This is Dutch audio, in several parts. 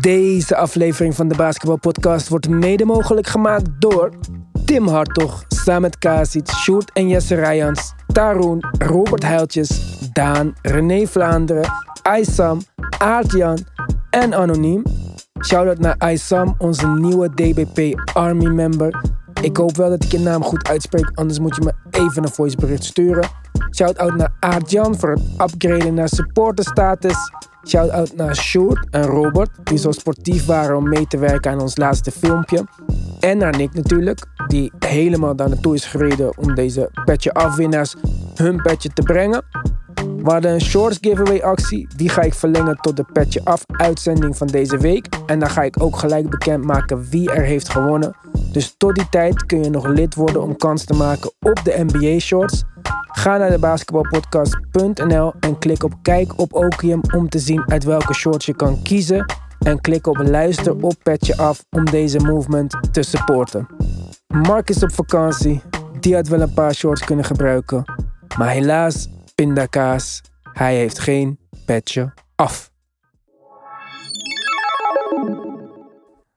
Deze aflevering van de Basketbal Podcast wordt mede mogelijk gemaakt door Tim Hartog, Samet Kasic, Sjoerd en Jesse Rijans, Tarun, Robert Heiltjes, Daan, René Vlaanderen, Aysam, Aartjan en Anoniem. Shoutout naar Aysam, onze nieuwe DBP Army member. Ik hoop wel dat ik je naam goed uitspreek, anders moet je me even een voicebericht sturen. Shout-out naar Aardjan voor het upgraden naar supporterstatus. Shout-out naar Sjoerd en Robert, die zo sportief waren om mee te werken aan ons laatste filmpje. En naar Nick natuurlijk, die helemaal daar naartoe is gereden om deze petje afwinnaars hun petje te brengen. We hadden een shorts giveaway actie. Die ga ik verlengen tot de petje af uitzending van deze week. En dan ga ik ook gelijk bekendmaken wie er heeft gewonnen. Dus tot die tijd kun je nog lid worden om kans te maken op de NBA shorts. Ga naar de basketbalpodcast.nl en klik op kijk op Okium om te zien uit welke shorts je kan kiezen. En klik op luister op petje af om deze movement te supporten. Mark is op vakantie. Die had wel een paar shorts kunnen gebruiken. Maar helaas, pindakaas, hij heeft geen petje af.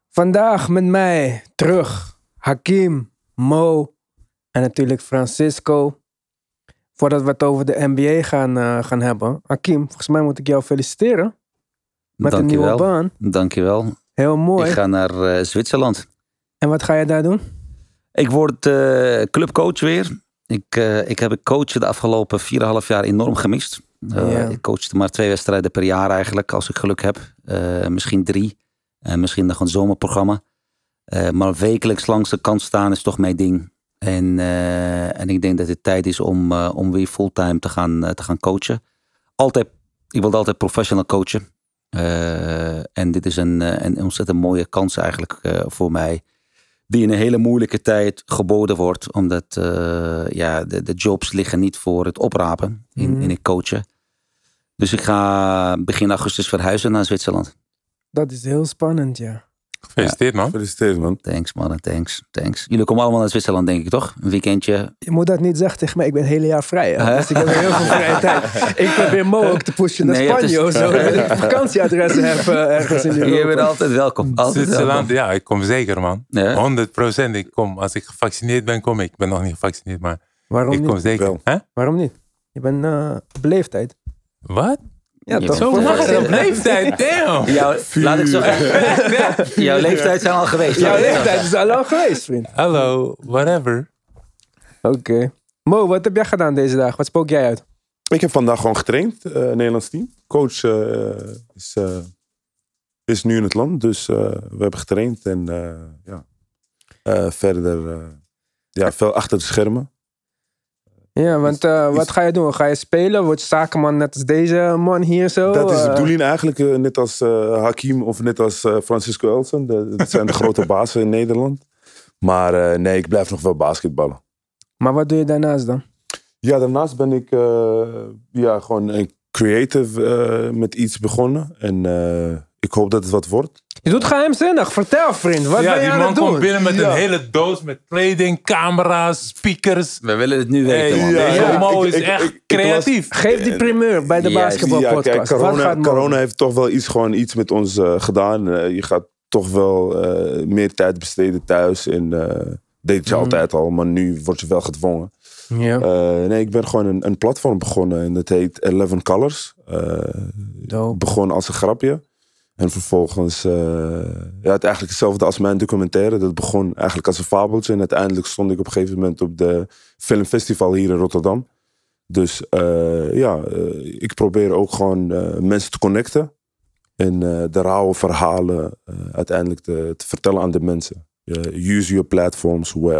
Vandaag met mij terug Hakim, Mo en natuurlijk Francisco. Voordat we het over de NBA gaan, eh, gaan hebben. Hakim, volgens mij moet ik jou feliciteren met een nieuwe Dankjewel. baan. Dankjewel. Heel mooi. Ik ga naar eh, Zwitserland. En wat ga je daar doen? Ik word eh, clubcoach weer. Ik, eh, ik heb het coachen de afgelopen 4,5 jaar enorm gemist. Eh, Ja. Ik coachte maar twee wedstrijden per jaar eigenlijk, als ik geluk heb. Eh, misschien drie. En misschien nog een zomerprogramma. Eh, maar wekelijks langs de kant staan is toch mijn ding. En, eh, en ik denk dat het tijd is om, eh, om weer fulltime te gaan, eh, te gaan coachen. Altijd, ik wilde altijd professional coachen. Eh, en dit is een, eh, een ontzettend mooie kans eigenlijk eh, voor mij. Die in een hele moeilijke tijd geboden wordt. Omdat eh, ja, de, de jobs liggen niet voor het oprapen in, Mhm. in het coachen. Dus ik ga begin augustus verhuizen naar Zwitserland. Dat is heel spannend, ja. Gefeliciteerd, man. Gefeliciteerd, man. Thanks mannen, thanks, thanks. Jullie komen allemaal naar Zwitserland denk ik toch? Een weekendje. Je moet dat niet zeggen tegen mij, ik ben het hele jaar vrij. hè. Hè? Dus ik heb heel veel vrije tijd. Ik probeer Mo ook te pushen naar Nee, het Spanje is- of zo. Dat ik vakantieadressen heb eh, ergens in Je bent Europa. altijd welkom. Altijd welkom. Zwitserland, ja, ik kom zeker, man. Ja. 100 procent, ik kom. Als ik gevaccineerd ben, kom ik. Ik ben nog niet gevaccineerd, maar Waarom ik kom niet? zeker. Wel. Hè? Waarom niet? Je bent eh, op leeftijd. Wat? Ja, Je toch? bent Zo Voor- laat voor- in leeftijd, damn! Jouw, laat ik zo Jouw leeftijd zijn al geweest. Jouw leeftijd is al lang geweest, vriend. Hallo, whatever. Oké. Mo, wat heb jij gedaan deze dag? Wat spook jij uit? Ik heb vandaag gewoon getraind, eh Nederlands team. Coach eh, is, eh, is nu in het land, dus eh, we hebben getraind. En eh, ja, Eh, verder eh, ja, veel achter de schermen. Ja, want eh, wat ga je doen? Ga je spelen? Word je zakenman net als deze man hier zo? Dat is de Eh, bedoeling eigenlijk, Oh, eh, net als eh, Hakim of net als eh, Francisco Elsen. De- Dat zijn de grote bazen in Nederland. Maar eh, nee, ik blijf nog wel basketballen. Maar wat doe je daarnaast dan? Ja, daarnaast ben ik eh, ja, gewoon een creative eh, met iets begonnen. En eh, ik hoop dat het wat wordt. Je doet geheimzinnig. Vertel, vriend. Wat ja, ben je die aan man het doen? komt binnen met Ja. een hele doos met kleding, camera's, speakers. We willen het nu Hey, weten man. ja. deze Mo ik- is ik- echt ik- ik creatief. Geef die primeur bij de Juist. basketbalpodcast. Eh, ja, kijk, Wat corona, gaat Mo doen? corona heeft toch wel iets, gewoon iets met ons eh, gedaan. Eh, je gaat toch wel eh, meer tijd besteden thuis. En eh, deed je Mhm. altijd al, maar nu word je wel gedwongen. Ja, Eh, nee, ik ben gewoon een, een platform begonnen en dat heet Eleven Colors. Eh, dope. begon als een grapje. En vervolgens, eh, ja, het eigenlijk hetzelfde als mijn documentaire. Dat begon eigenlijk als een fabeltje. En uiteindelijk stond ik op een gegeven moment op de filmfestival hier in Rotterdam. Dus eh, ja, eh, ik probeer ook gewoon eh, mensen te connecten. En eh, de rauwe verhalen eh, uiteindelijk te, te vertellen aan de mensen. Eh, use your platforms well.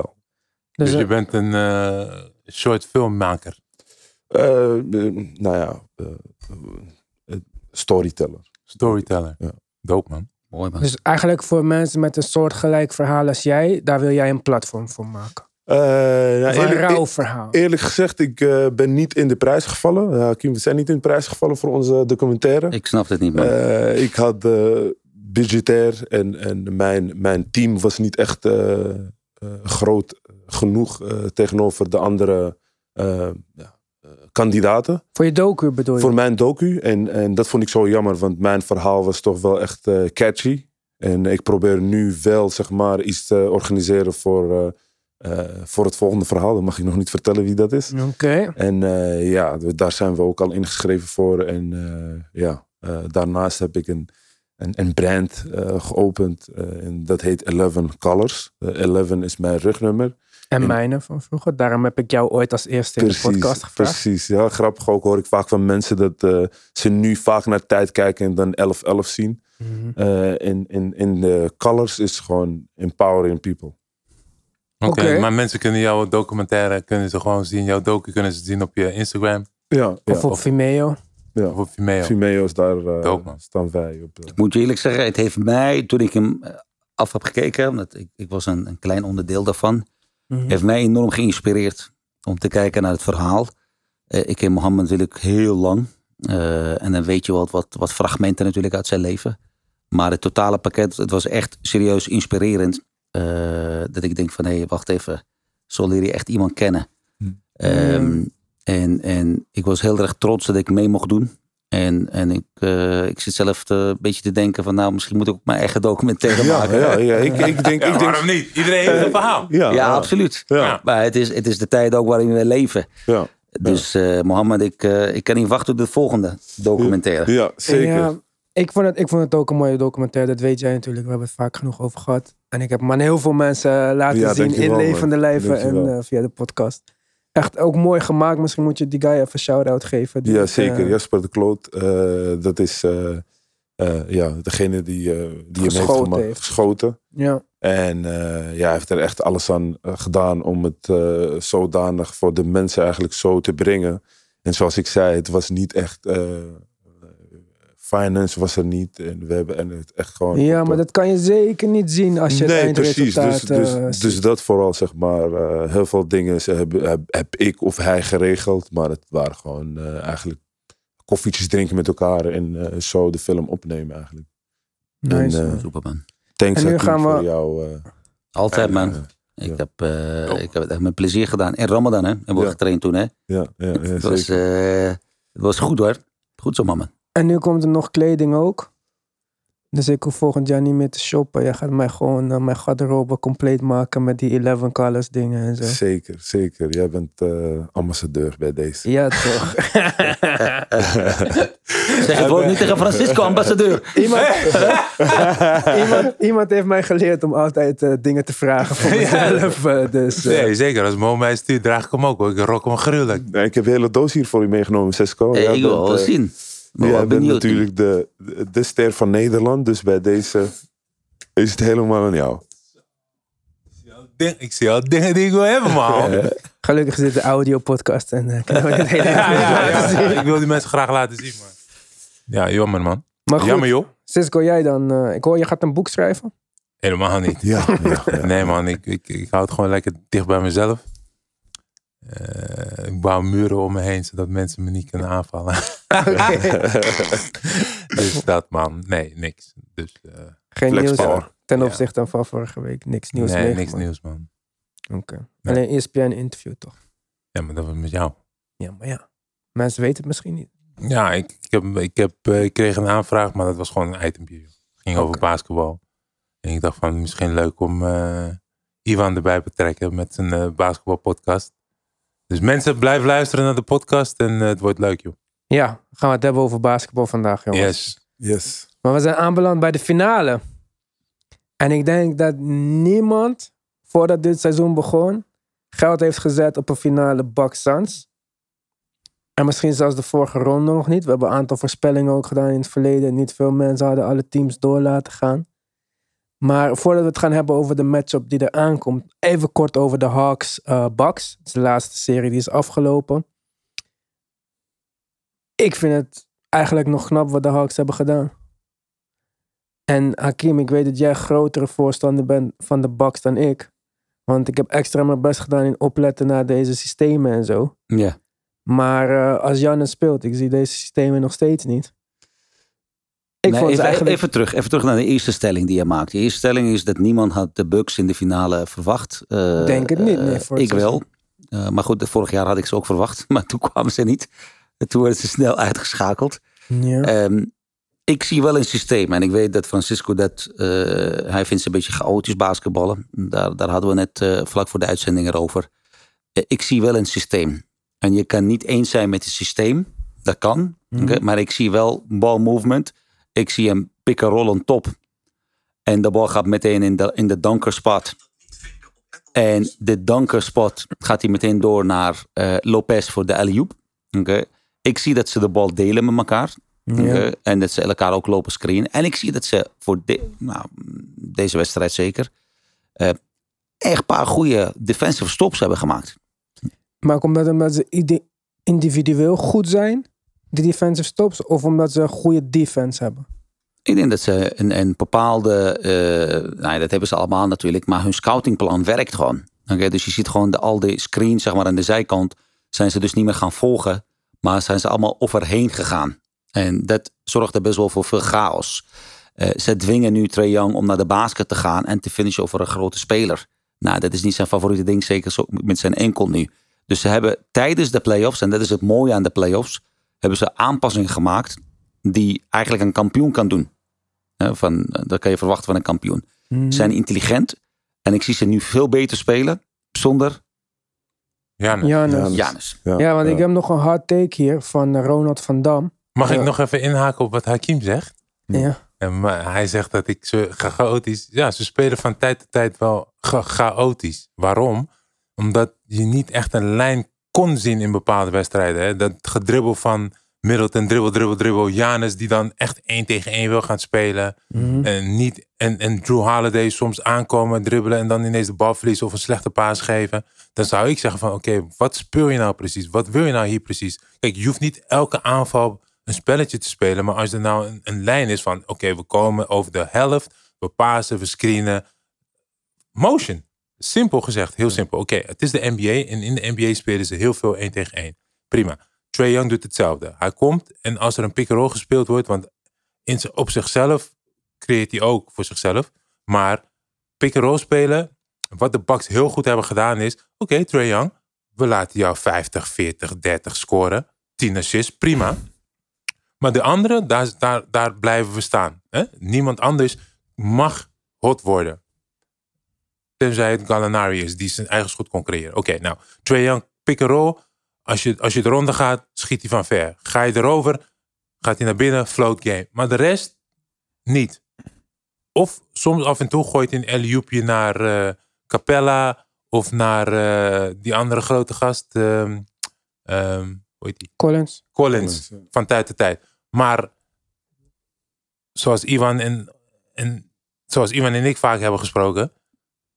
Dus, Dus je eh, bent een eh short filmmaker. Eh, eh, nou ja, eh, eh, storyteller. Storyteller. Ja. Dope, man. Mooi man. dus eigenlijk voor mensen met een soortgelijk verhaal als jij, daar wil jij een platform voor maken. Eh, nou, Of een eerlijk- rauw verhaal. Eerlijk gezegd, ik eh, ben niet in de prijs gevallen. Ja, Kim, we zijn niet in de prijs gevallen voor onze documentaire. Ik snap het niet man. Eh, ik had eh, budgetair en, en mijn, mijn team was niet echt eh, eh, groot genoeg eh, tegenover de andere eh, ja, eh, kandidaten Voor je docu bedoel je? voor mijn docu. En, en dat vond ik zo jammer, want mijn verhaal was toch wel echt eh, catchy. En ik probeer nu wel, zeg maar, iets te organiseren voor, eh, eh, voor het volgende verhaal. Dan mag ik nog niet vertellen wie dat is. Oké. En eh, ja, we- daar zijn we ook al ingeschreven voor. En eh, ja, eh, daarnaast heb ik een, een, een brand eh, geopend. eh, en dat heet Eleven Colors. Eh, Eleven is mijn rugnummer. En En- mijne van vroeger. Daarom heb ik jou ooit als eerste in de podcast gevraagd. Precies, ja, grappig ook hoor ik vaak van mensen dat eh, ze nu vaak naar tijd kijken en dan 11-11 zien. Mhm. Eh, en, en, en de colors is gewoon empowering people. Oké, Oké. maar mensen kunnen jouw documentaire kunnen ze gewoon zien. Jouw docu kunnen ze zien op je Instagram Ja, Of op Vimeo. ja. of op Vimeo. Vimeo's, daar eh, Dope, man. staan wij op. eh. Ik moet je eerlijk zeggen, het heeft mij, toen ik hem eh, af heb gekeken, omdat ik, ik was een, een klein onderdeel daarvan, Mhm. heeft mij enorm geïnspireerd om te kijken naar het verhaal. Eh, ik ken Mohammed natuurlijk heel lang. Eh, en dan weet je wat, wat, wat fragmenten natuurlijk uit zijn leven. Maar het totale pakket, het was echt serieus inspirerend. Eh, dat ik denk van, hé, wacht even. Zo leer je echt iemand kennen. Hm. Ehm, Mm. en, en ik was heel erg trots dat ik mee mocht doen. En, en ik, eh, ik zit zelf te- een beetje te denken van, nou, misschien moet ik ook mijn eigen documentaire Ja, maken. ja, ja, ik, ik denk... Ja, ik denk waarom niet? Iedereen heeft een verhaal. ja, ja ja. absoluut. Ja. Maar het is, het is de tijd ook waarin we leven. Ja. Dus eh Mohammed, ik, eh, ik kan niet wachten op de volgende documentaire. Ja, zeker. Ja, ik, vond het, ik vond het ook een mooie documentaire. Dat weet jij natuurlijk. We hebben het vaak genoeg over gehad. En ik heb hem aan heel veel mensen eh, laten Ja, zien in dankjewel, man. levende lijven en Dankjewel. eh, via de podcast. Echt ook mooi gemaakt. Misschien moet je die guy even shout-out geven. Die Ja, het, eh, zeker. Jasper de Kloot, eh, dat is eh, eh, ja, degene die, eh, die hem heeft, Geschoten gemaakt, heeft. geschoten. ja. En eh, ja, hij heeft er echt alles aan eh, gedaan om het eh, zodanig voor de mensen eigenlijk zo te brengen. En zoals ik zei, het was niet echt. eh, finance was er niet. En we hebben en het echt gewoon. ja, op, maar eh, dat kan je zeker niet zien als je het nee, precies. eindresultaat... Dus, dus, eh, ziet. dus dat vooral, zeg maar. eh, heel veel dingen ze heb, heb, heb ik of hij geregeld. Maar het waren gewoon eh, eigenlijk koffietjes drinken met elkaar. En eh, zo de film opnemen eigenlijk. Nice. En, eh, Super man. Thanks En nu Hakim, gaan we- voor jou. eh, Altijd man. eh, Ik ja. heb, eh, ik heb het echt met plezier gedaan. En Ramadan hè, hebben we Ja. getraind toen hè. ja, ja, ja, Het zeker. was, eh, het was goed hoor. Goed zo Mohammed. en nu komt er nog kleding ook. Dus ik hoef volgend jaar niet meer te shoppen. Jij gaat mij gewoon eh, mijn garderobe compleet maken met die 11 colors dingen en zo. eh, Zeker, zeker. Jij bent eh, ambassadeur bij deze. Ja, toch. Zeg het woord niet tegen Francisco, ambassadeur. Iemand, iemand, iemand heeft mij geleerd om altijd eh, dingen te vragen voor mezelf. eh, dus, eh, Nee, zeker. Als Mo mij stuurt, draag ik hem ook. hoor. Ik rok hem gruwelijk. Nou, ik heb een hele doos hier voor u meegenomen, Sesco. Hey, Jij ik wil bent, wel eh, zien. Maar jij wel bent benieuwd. natuurlijk de, de- de ster van Nederland. Dus bij deze is het helemaal aan jou. Ding- Ik zie al dingen die ik wil hebben, man. Ja, gelukkig is dit de audio-podcast en eh, kunnen we dit hele ja, ja, laten zien. Ik wil die mensen graag laten zien, man. Ja, jammer, man. Maar goed, Jammer, joh. Cisco, jij dan? eh, ik hoor, je gaat een boek schrijven. Helemaal niet. Ja, ja, ja. Nee, man. Ik, ik, ik hou het gewoon lekker dicht bij mezelf. Eh, ik bouw muren om me heen, zodat mensen me niet kunnen aanvallen. dus dat, man. Nee, niks. Dus eh, Geen Flex nieuws power. ten Ja. opzichte van vorige week. Niks nieuws nee, niks meegemaakt. nieuws, man. Oké. Nee. Alleen E ESPN-interview, toch? Ja, maar dat was met jou. Ja, maar ja. Mensen weten het misschien niet. Ja, ik, ik, heb, ik, heb, eh, ik kreeg een aanvraag, maar dat was gewoon een itempje. joh. Het ging over Oké. basketbal. En ik dacht van, misschien leuk om eh, Ivan erbij te trekken met zijn eh, basketbalpodcast. Dus mensen, blijf luisteren naar de podcast en eh, het wordt leuk, joh. Ja, gaan we het hebben over basketbal vandaag, jongens. Yes. Yes. Maar we zijn aanbeland bij de finale. En ik denk dat niemand voordat dit seizoen begon geld heeft gezet op een finale Bucks Suns. En misschien zelfs de vorige ronde nog niet. We hebben een aantal voorspellingen ook gedaan in het verleden. Niet veel mensen hadden alle teams door laten gaan. Maar voordat we het gaan hebben over de matchup die er aankomt, even kort over de Hawks eh Bucks. Het is de laatste serie die is afgelopen. Ik vind het eigenlijk nog knap wat de Hawks hebben gedaan. En Hakim, ik weet dat jij grotere voorstander bent van de Bucks dan ik. Want ik heb extra mijn best gedaan in opletten naar deze systemen en zo. Ja. Maar eh, als Jannes speelt, ik zie deze systemen nog steeds niet. Ik Nee, vond het even, eigenlijk... even terug, even terug naar de eerste stelling die je maakt. De eerste stelling is dat niemand had de Bucks in de finale verwacht. Eh, Denk het niet, nee, eh, voor het ik wel. Eh, maar goed, vorig jaar had ik ze ook verwacht. Maar toen kwamen ze niet. En Toen werden ze snel uitgeschakeld. Ja. Ehm, ik zie wel een systeem. En ik weet dat Francisco dat... eh, hij vindt ze een beetje chaotisch basketballen. Daar, daar hadden we net eh, vlak voor de uitzending erover. Eh, ik zie wel een systeem. En je kan niet eens zijn met het systeem. Dat kan. Mhm. oké, Maar ik zie wel ball movement. Ik zie een pick-and-roll on top. En de bal gaat meteen in de, in de dankerspot. En de dankerspot gaat hij meteen door naar eh, Lopez voor de alley-oop. Oké. Ik zie dat ze de bal delen met elkaar. Ja. Eh, en dat ze elkaar ook lopen screenen. En ik zie dat ze voor de- nou, deze wedstrijd zeker eh, echt een paar goede defensive stops hebben gemaakt. Maar ook omdat, omdat ze ide- individueel goed zijn, de defensive stops, of omdat ze een goede defense hebben. Ik denk dat ze een, een bepaalde, eh, nou ja, dat hebben ze allemaal natuurlijk, maar hun scoutingplan werkt gewoon. Oké, dus je ziet gewoon de, al die screens zeg maar, aan de zijkant zijn ze dus niet meer gaan volgen, maar zijn ze allemaal overheen gegaan. En dat zorgt er best wel voor veel chaos. Eh, ze dwingen nu Trae Young om naar de basket te gaan en te finishen over een grote speler. Nou, dat is niet zijn favoriete ding, zeker zo met zijn enkel nu. Dus ze hebben tijdens de playoffs, en dat is het mooie aan de playoffs, hebben ze aanpassingen gemaakt die eigenlijk een kampioen kan doen. Hè, Van, eh, dat kan je verwachten van een kampioen. Mhm. Mm. Ze zijn intelligent en ik zie ze nu veel beter spelen zonder Jan, Janus. Janus. Janus. Ja, want ik heb nog een hard take hier van eh, Ronald van Dam. mag Ja. ik nog even inhaken op wat Hakim zegt? Ja. En maar hij zegt dat ik ze ga- chaotisch. Ja, ze spelen van tijd tot tijd wel cha- chaotisch. Waarom? Omdat je niet echt een lijn kon zien in bepaalde wedstrijden. Hè? Dat gedribbel van Middleton, dribbel, dribbel, dribbel. Janus die dan echt één tegen één wil gaan spelen. En, niet, en, en Drew Holiday soms aankomen, dribbelen en dan ineens de bal verliezen of een slechte paas geven. Dan zou ik zeggen van oké, wat speel je nou precies? Wat wil je nou hier precies? Kijk, je hoeft niet elke aanval een spelletje te spelen. Maar als er nou een, een lijn is van oké, we komen over de helft. We pasen, we screenen. Motion. Simpel gezegd, heel simpel. Oké, het is de NBA en in de NBA spelen ze heel veel één tegen één. Prima. Trae Young doet hetzelfde. Hij komt en als er een pick-and-roll gespeeld wordt, want in z- op zichzelf creëert hij ook voor zichzelf. Maar pick-and-roll spelen, wat de Bucks heel goed hebben gedaan is... Oké, Trae Young, we laten jou 50, 40, 30 scoren. 10 assists, prima. Maar de anderen, daar, daar, daar blijven we staan. Hè? Niemand anders mag hot worden. Tenzij het Gallinari is, die zijn eigen schot kon creëren. Oké, nou, Trae Young, pick-and-roll. Als je, als je eronder gaat, schiet hij van ver. Ga je erover, gaat hij naar binnen, float game. Maar de rest, niet. Of soms af en toe gooit hij een alley naar eh, Capella of naar eh, die andere grote gast. ehm, ehm, hoe heet die? Collins. Collins, van tijd tot tijd. Maar zoals Ivan en, en, zoals Ivan en ik vaak hebben gesproken.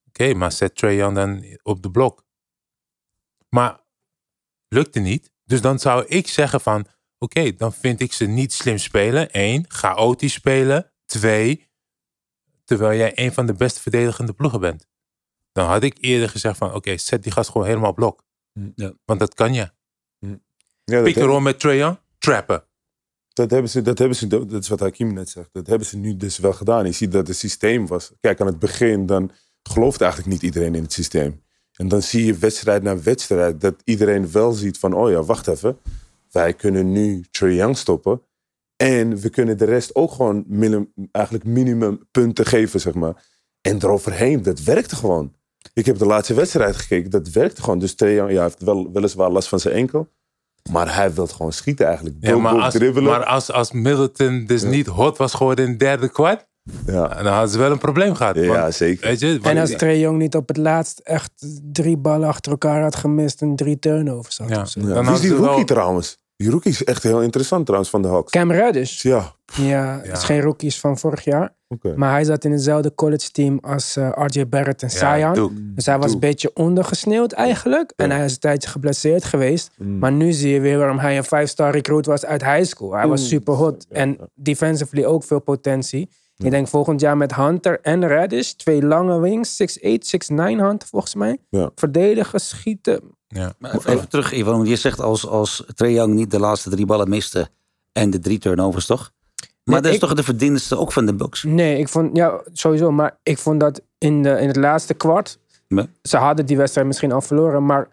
Oké, maar zet Trae Young dan op de blok. Maar lukte niet. Dus dan zou ik zeggen van... Oké, dan vind ik ze niet slim spelen. Eén, chaotisch spelen. Twee, terwijl jij een van de beste verdedigende ploegen bent. Dan had ik eerder gezegd van... Oké, zet die gast gewoon helemaal op blok. Ja. Want dat kan je. Ja, dat, Pick and roll met Trae Young, trappen. dat hebben ze, dat hebben ze, dat is wat Hakim net zegt. Dat hebben ze nu dus wel gedaan. Je ziet dat het systeem was. Kijk, aan het begin dan gelooft eigenlijk niet iedereen in het systeem. En dan zie je wedstrijd na wedstrijd dat iedereen wel ziet van, oh ja, wacht even. Wij kunnen nu Trae Young stoppen. En we kunnen de rest ook gewoon minim, eigenlijk minimum punten geven, zeg maar. En eroverheen, dat werkte gewoon. Ik heb de laatste wedstrijd gekeken, dat werkte gewoon. Dus Trae Young, ja, hij heeft wel, weliswaar last van zijn enkel. Maar hij wil gewoon schieten eigenlijk. Ja, maar Doelboek, als, dribbelen. maar als, als Middleton dus niet hot was geworden in het derde kwart, ja. dan hadden ze wel een probleem gehad. Ja, Eh, Want, zeker. weet je, En want- als Trae Young niet op het laatst echt drie ballen achter elkaar had gemist en drie turnovers had. Ja. of zo. Ja. dan Wie is die hadden ze rookie wel- trouwens? Die rookie is echt heel interessant trouwens van de Hawks. Cam Reddish. Ja, Ja, het is geen rookies van vorig jaar. oké. Maar hij zat in hetzelfde college team als eh, RJ Barrett en ja, Zion. Duke. Dus hij was Doe. een beetje ondergesneeuwd eigenlijk. En hij is een tijdje geblesseerd geweest. Mm. Maar nu zie je weer waarom hij een 5-star recruit was uit high school. Hij was Mm. super hot. Ja, En defensively ook veel potentie. Ik denk volgend jaar met Hunter en Reddish. Twee lange wings. 6'8, 6'9 Hunter volgens mij. Ja. Verdedigen, schieten. Ja. Maar even even terug, Ivan, want je zegt als, als Trae Young niet de laatste drie ballen miste en de drie turnovers toch? Maar Nee, dat is ik- toch de verdienste ook van de Bucks? Nee, ik vond, ja, sowieso. Maar ik vond dat in, de, in het laatste kwart. Nee. Ze hadden die wedstrijd misschien al verloren. Maar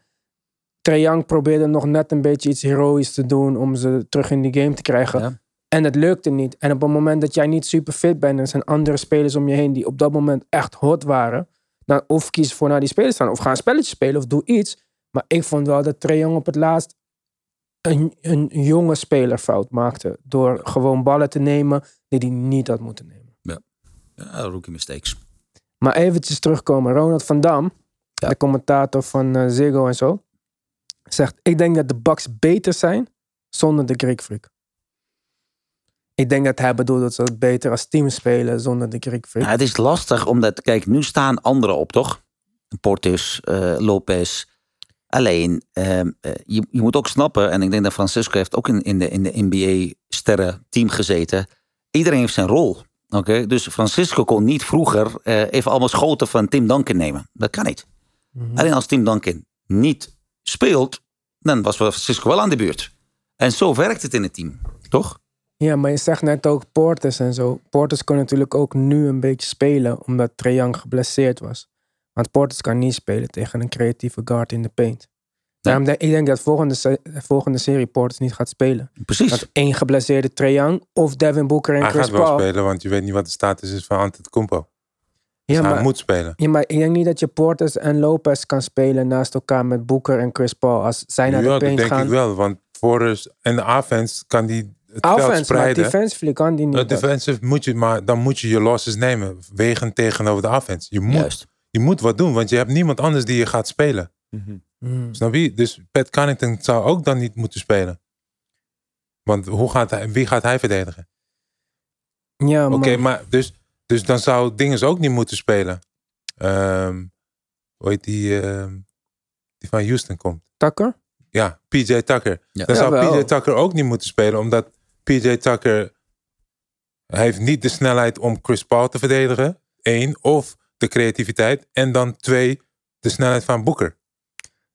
Trae Young probeerde nog net een beetje iets heroïs te doen om ze terug in die game te krijgen. Ja. En het lukte niet. En op het moment dat jij niet super fit bent en er zijn andere spelers om je heen die op dat moment echt hot waren, dan of kies voor naar die spelers te gaan of ga een spelletje spelen of doe iets. Maar ik vond wel dat Trae Young op het laatst een, een jonge speler fout maakte door gewoon ballen te nemen die hij niet had moeten nemen. Ja, rookie mistakes. Maar eventjes terugkomen. Ronald van Dam, de commentator van eh, Ziggo en zo, zegt: Ik denk dat de Bucks beter zijn zonder de Greek Freak. Ik denk dat hij bedoelt dat ze het beter als team spelen zonder de Greek Freak. Nou, het is lastig omdat, kijk, nu staan anderen op, toch? Portis, eh, Lopez. Alleen, ehm, eh, je, je moet ook snappen, en ik denk dat Francisco heeft ook in, in de, in de NBA-sterren-team gezeten. Iedereen heeft zijn rol. Oké, dus Francisco kon niet vroeger eh, even allemaal schoten van Tim Duncan nemen. Dat kan niet. Alleen als Tim Duncan niet speelt, dan was Francisco wel aan de buurt. En zo werkt het in het team, toch? Ja, maar je zegt net ook Portis en zo. Portis kon natuurlijk ook nu een beetje spelen omdat Trae Young geblesseerd was. Want Portis kan niet spelen tegen een creatieve guard in de paint. Daarom denk ik denk dat volgende, se- volgende serie Portis niet gaat spelen. Precies. Dat één geblesseerde Trae Young of Devin Booker en Hij Chris gaat wel Paul. spelen, want je weet niet wat de status is van Antetokounmpo. Ja Dus hij maar, moet spelen. ja, maar ik denk niet dat je Portis en Lopez kan spelen naast elkaar met Booker en Chris Paul. Als zij naar ja, de dat paint denk ik gaan. wel. Want Forrest en de offense kan die het veld Offense, maar spreiden. defensively kan die Eh, niet. dat. defensive moet je, maar dan moet je je losses nemen. Wegen tegenover de offense. Je moet, Juist. je moet wat doen, want je hebt niemand anders die je gaat spelen. Hmm. Snap je? Dus Pat Connington zou ook dan niet moeten spelen. Want hoe gaat hij, wie gaat hij verdedigen? Ja, maar, Oké, maar dus, dus dan zou Dinges ook niet moeten spelen. Ehm hoe heet die, ehm, die van Houston komt? Tucker? Ja, PJ Tucker. Ja. Dan zou Jawel. PJ Tucker ook niet moeten spelen, omdat PJ Tucker hij heeft niet de snelheid om Chris Paul te verdedigen. Eén, of de creativiteit. En dan twee, de snelheid van Booker.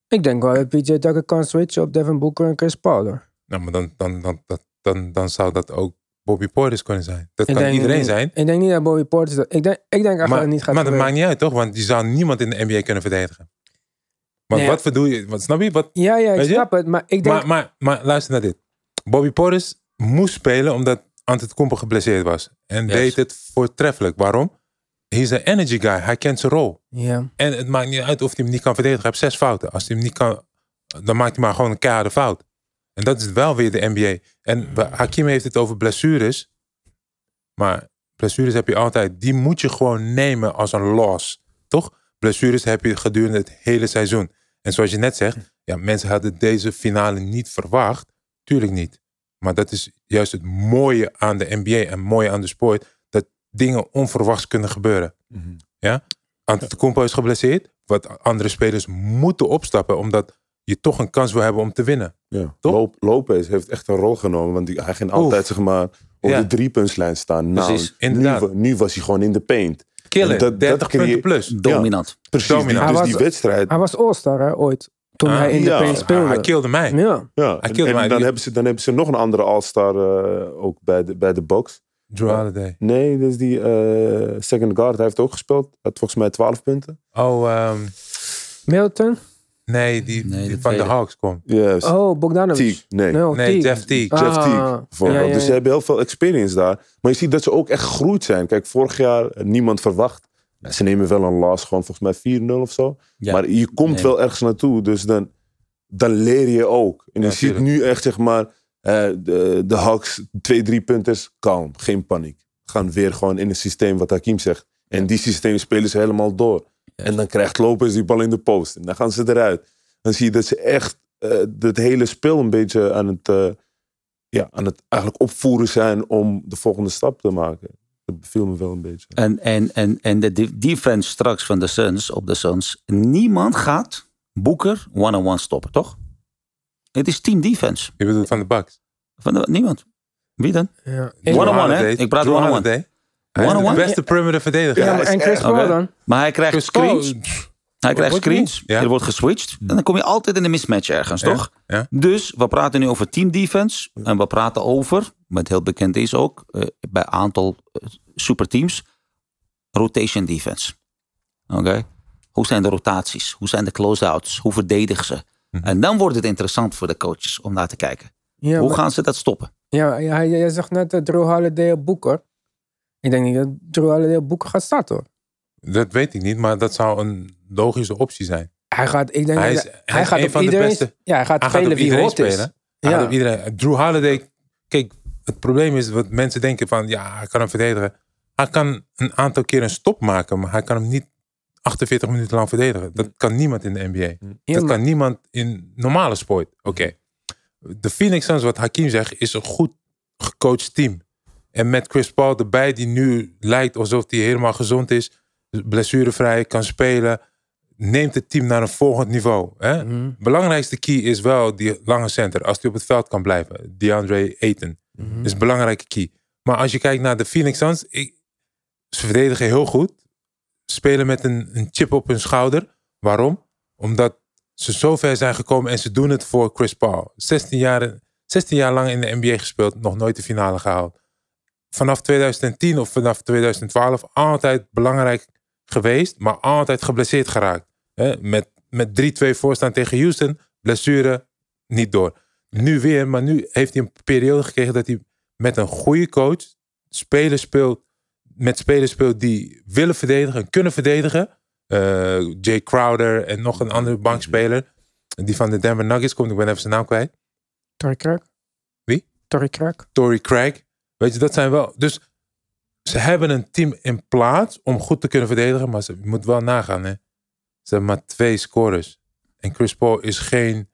Ik denk wel dat PJ Tucker kan switchen op Devin Booker en Chris Paul. hoor. Nou, maar dan, dan, dan, dan, dan, dan zou dat ook Bobby Portis kunnen zijn. Dat Ik kan denk iedereen niet- zijn. Ik denk niet dat Bobby Portis dat... Ik denk, ik denk echt dat Maar, het niet gaat maar dat gebeuren. maakt niet uit, toch? Want je zou niemand in de NBA kunnen verdedigen. Want Nee. wat verdoe je? Wat, snap je? Wat, Ja, ja, ik Weet je? snap het. Maar ik denk... maar, maar, maar luister naar dit. Bobby Portis moest spelen omdat Antetokounmpo geblesseerd was. En Yes. deed het voortreffelijk. Waarom? He's an energy guy. Hij kent zijn rol. ja. En het maakt niet uit of hij hem niet kan verdedigen. Hij heeft zes fouten. Als hij hem niet kan, dan maakt hij maar gewoon een keiharde fout. En dat is wel weer de NBA. En we- Hakim heeft het over blessures. Maar blessures heb je altijd. Die moet je gewoon nemen als een loss. Toch? Blessures heb je gedurende het hele seizoen. En zoals je net zegt, ja, mensen hadden deze finale niet verwacht. Tuurlijk niet. Maar dat is juist het mooie aan de NBA en mooie aan de sport. Dat dingen onverwachts kunnen gebeuren. Antetokounmpo is geblesseerd. Wat andere spelers moeten opstappen. Omdat je toch een kans wil hebben om te winnen. Ja. Toch? Lop- Lopez heeft echt een rol genomen. Want die- hij ging Oef. altijd zeg maar, op Ja. de driepuntslijn staan. Nou, Precies, nu, inderdaad. wa- nu was hij gewoon in de paint. Killen. Dat- dat 30 creëer- punten plus. Dominant. Precies, Dominant. die- Hij dus was- die wedstrijd. Hij was All-Star, hè, ooit. Toen Ah, hij in ja. de paint Hij, hij speelde. kilde mij. ja. Ja, en, kilde en mij. dan, hebben ze, dan hebben ze nog een andere All-Star eh, ook bij de, bij de box. Drew Holiday. Nee, dat is die eh, second guard. Hij heeft ook gespeeld. Hij had volgens mij 12 punten. Oh, ehm, Milton? nee, die, Nee, die de van de tweede. Hawks komt. Yes. Oh, Bogdanovic. Teague. Nee. Dus- Nee, Jeff Teague. Ah, Jeff Teague, bijvoorbeeld. ja, ja, Dus ze ja. hebben heel veel experience daar. Maar je ziet dat ze ook echt gegroeid zijn. Kijk, vorig jaar eh, niemand verwacht. Nou, Ze nemen wel een last, gewoon volgens mij 4-0 of zo. Ja. Maar je komt Nee. wel ergens naartoe, dus dan, dan leer je ook. En Ja, je ziet tuurlijk. nu echt, zeg maar, eh, de, de Hawks, twee, drie punters, kalm, geen paniek. Gaan weer gewoon in het systeem wat Hakim zegt. En die systeem spelen ze helemaal door. En dan krijgt Lopez die bal in de post. En dan gaan ze eruit. Dan zie je dat ze echt eh het hele spel een beetje aan het, eh, ja, aan het eigenlijk opvoeren zijn om de volgende stap te maken. Dat beviel me wel een beetje. En, en, en, en de de- defense straks van de Suns op de Suns. Niemand gaat Boeker one-on-one stoppen, toch? Het is team defense. Je bedoelt van de Bucks. Van de- niemand. Wie dan? Ja. Drew One-on-one, hè? Holiday. Ik praat Drew one-on-one. Holiday. Hij is de One-on-one? beste perimeter verdediger. Ja, Ja, maar is en Chris echt- Paul Oké. dan? Maar hij krijgt Chris screens. Paul. hij krijgt wordt niet. screens. Ja. Er wordt geswitcht. En dan kom je altijd in een mismatch ergens, Ja, toch? ja. Dus we praten nu over team defense. En we praten over, wat heel bekend is ook, eh, bij een aantal eh, superteams, rotation defense. Oké? Hoe zijn de rotaties? Hoe zijn de close-outs? Hoe verdedigen ze? Mhm. En dan wordt het interessant voor de coaches om naar te kijken. Ja, Hoe maar- gaan ze dat stoppen? ja, ja, jij- jij zegt net dat Drew Holiday op boek hoor. Ik denk niet dat Drew Holiday op boek gaat starten hoor. Dat weet ik niet, maar dat zou een logische optie zijn. Hij gaat, ik denk Hij dat- is- hij hij is gaat een op van de iedereen, beste. Ja, hij gaat Hij gaat spelen op wie iedereen hot is. spelen. Ja. Hij had op iedereen. Drew Holiday, kijk, het probleem is wat mensen denken van, ja, hij kan hem verdedigen. Hij kan een aantal keer een stop maken, maar hij kan hem niet 48 minuten lang verdedigen. Dat kan niemand in de NBA. Ja, Dat maar- kan niemand in normale sport. Oké. De Phoenix Suns, wat Hakim zegt, is een goed gecoacht team. En met Chris Paul erbij, die nu lijkt alsof hij helemaal gezond is, blessurevrij, kan spelen, neemt het team naar een volgend niveau. Hè? Mhm. belangrijkste key is wel die lange center. Als die op het veld kan blijven. DeAndre Ayton. Mhm. is een belangrijke key. Maar als je kijkt naar de Phoenix Suns. Ik, ze verdedigen heel goed. Spelen met een, een chip op hun schouder. Waarom? Omdat ze zo ver zijn gekomen en ze doen het voor Chris Paul. 16 jaar, 16 jaar lang in de NBA gespeeld. Nog nooit de finale gehaald. Vanaf 2010 of vanaf 2012 altijd belangrijk geweest. Maar altijd geblesseerd geraakt. Hè? Met, met 3-2 voorstaan tegen Houston. Blessure, niet door. Nu weer, maar nu heeft hij een periode gekregen dat hij met een goede coach spelers speelt, met spelers speelt die willen verdedigen en kunnen verdedigen. Eh, Jay Crowder en nog een andere bankspeler. Die van de Denver Nuggets komt, ik ben even zijn naam kwijt. Torrey Crack. Wie? Torrey Crack. Tory Craig. Weet je, dat zijn wel. Dus ze hebben een team in plaats om goed te kunnen verdedigen, maar ze je moet wel nagaan. Hè? Ze hebben maar twee scorers. En Chris Paul is geen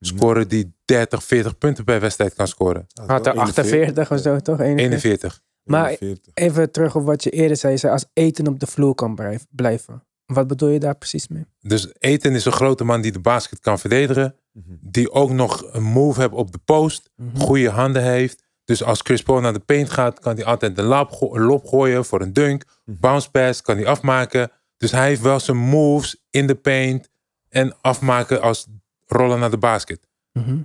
scorer die 30, 40 punten per wedstrijd kan scoren. Had er 48 of zo toch? 41. 41. Maar- Even terug op wat je eerder zei. Je zei als eten op de vloer kan blijf- blijven. Wat bedoel je daar precies mee? Dus Eten is een grote man die de basket kan verdedigen. Mhm. Die ook nog een move heeft op de post. Goede handen heeft. Dus als Chris Paul naar de paint gaat, kan hij altijd de lap go- een lob gooien voor een dunk. Bounce pass kan hij afmaken. Dus hij heeft wel zijn moves in de paint. En afmaken als rollen naar de basket. Mhm.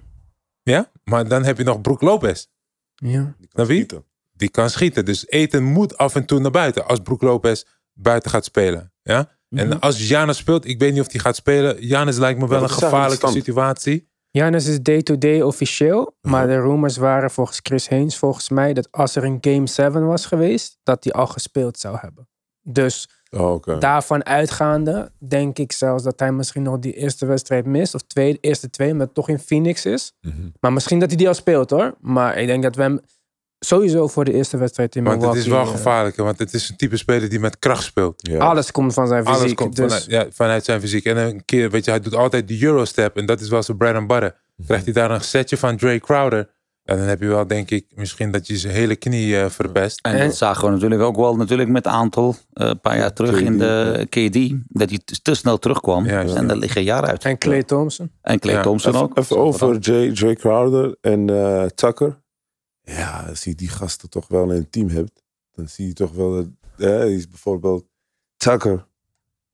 Ja? Maar dan heb je nog Brook Lopez. Ja. Naar wie? Die kan schieten. Dus Eten moet af en toe naar buiten. Als Brook Lopez buiten gaat spelen. Ja? Mhm. En als Janus speelt, ik weet niet of hij gaat spelen. Janus lijkt me wel Ja, een dat is eigenlijk de gevaarlijke stand. situatie. Janus is day-to-day officieel. Maar Mhm. de rumors waren volgens Chris Haynes, volgens mij, dat als er een Game 7 was geweest, dat hij al gespeeld zou hebben. Dus Oh, oké. daarvan uitgaande, denk ik zelfs dat hij misschien nog die eerste wedstrijd mist. Of twee, eerste twee, maar toch in Phoenix is. Mhm. Maar misschien dat hij die al speelt hoor. Maar ik denk dat we hem sowieso voor de eerste wedstrijd in Want het Milwaukee... is wel eh, gevaarlijk, hè, want het is een type speler die met kracht speelt. Ja. Alles komt van zijn fysiek. Alles komt dus... vanuit, ja, vanuit zijn fysiek. En een keer, weet je, hij doet altijd de Eurostep en dat is wel zijn bread and butter. Mhm. Krijgt hij daar een setje van Dre Crowder, en dan heb je wel, denk ik, misschien dat je zijn hele knie eh, verpest. En En- dat zagen we natuurlijk ook wel natuurlijk met een aantal, eh, een paar jaar terug in KD, de KD, dat hij te- te snel terugkwam. Ja, ja. en daar liggen jaren uit. En Clay Thompson. En Clay Ja. Thompson Even, ook. even over Jay, Jay Crowder en eh, Tucker. Ja, als je die gasten toch wel in een team hebt, dan zie je toch wel dat. eh, die is bijvoorbeeld Tucker,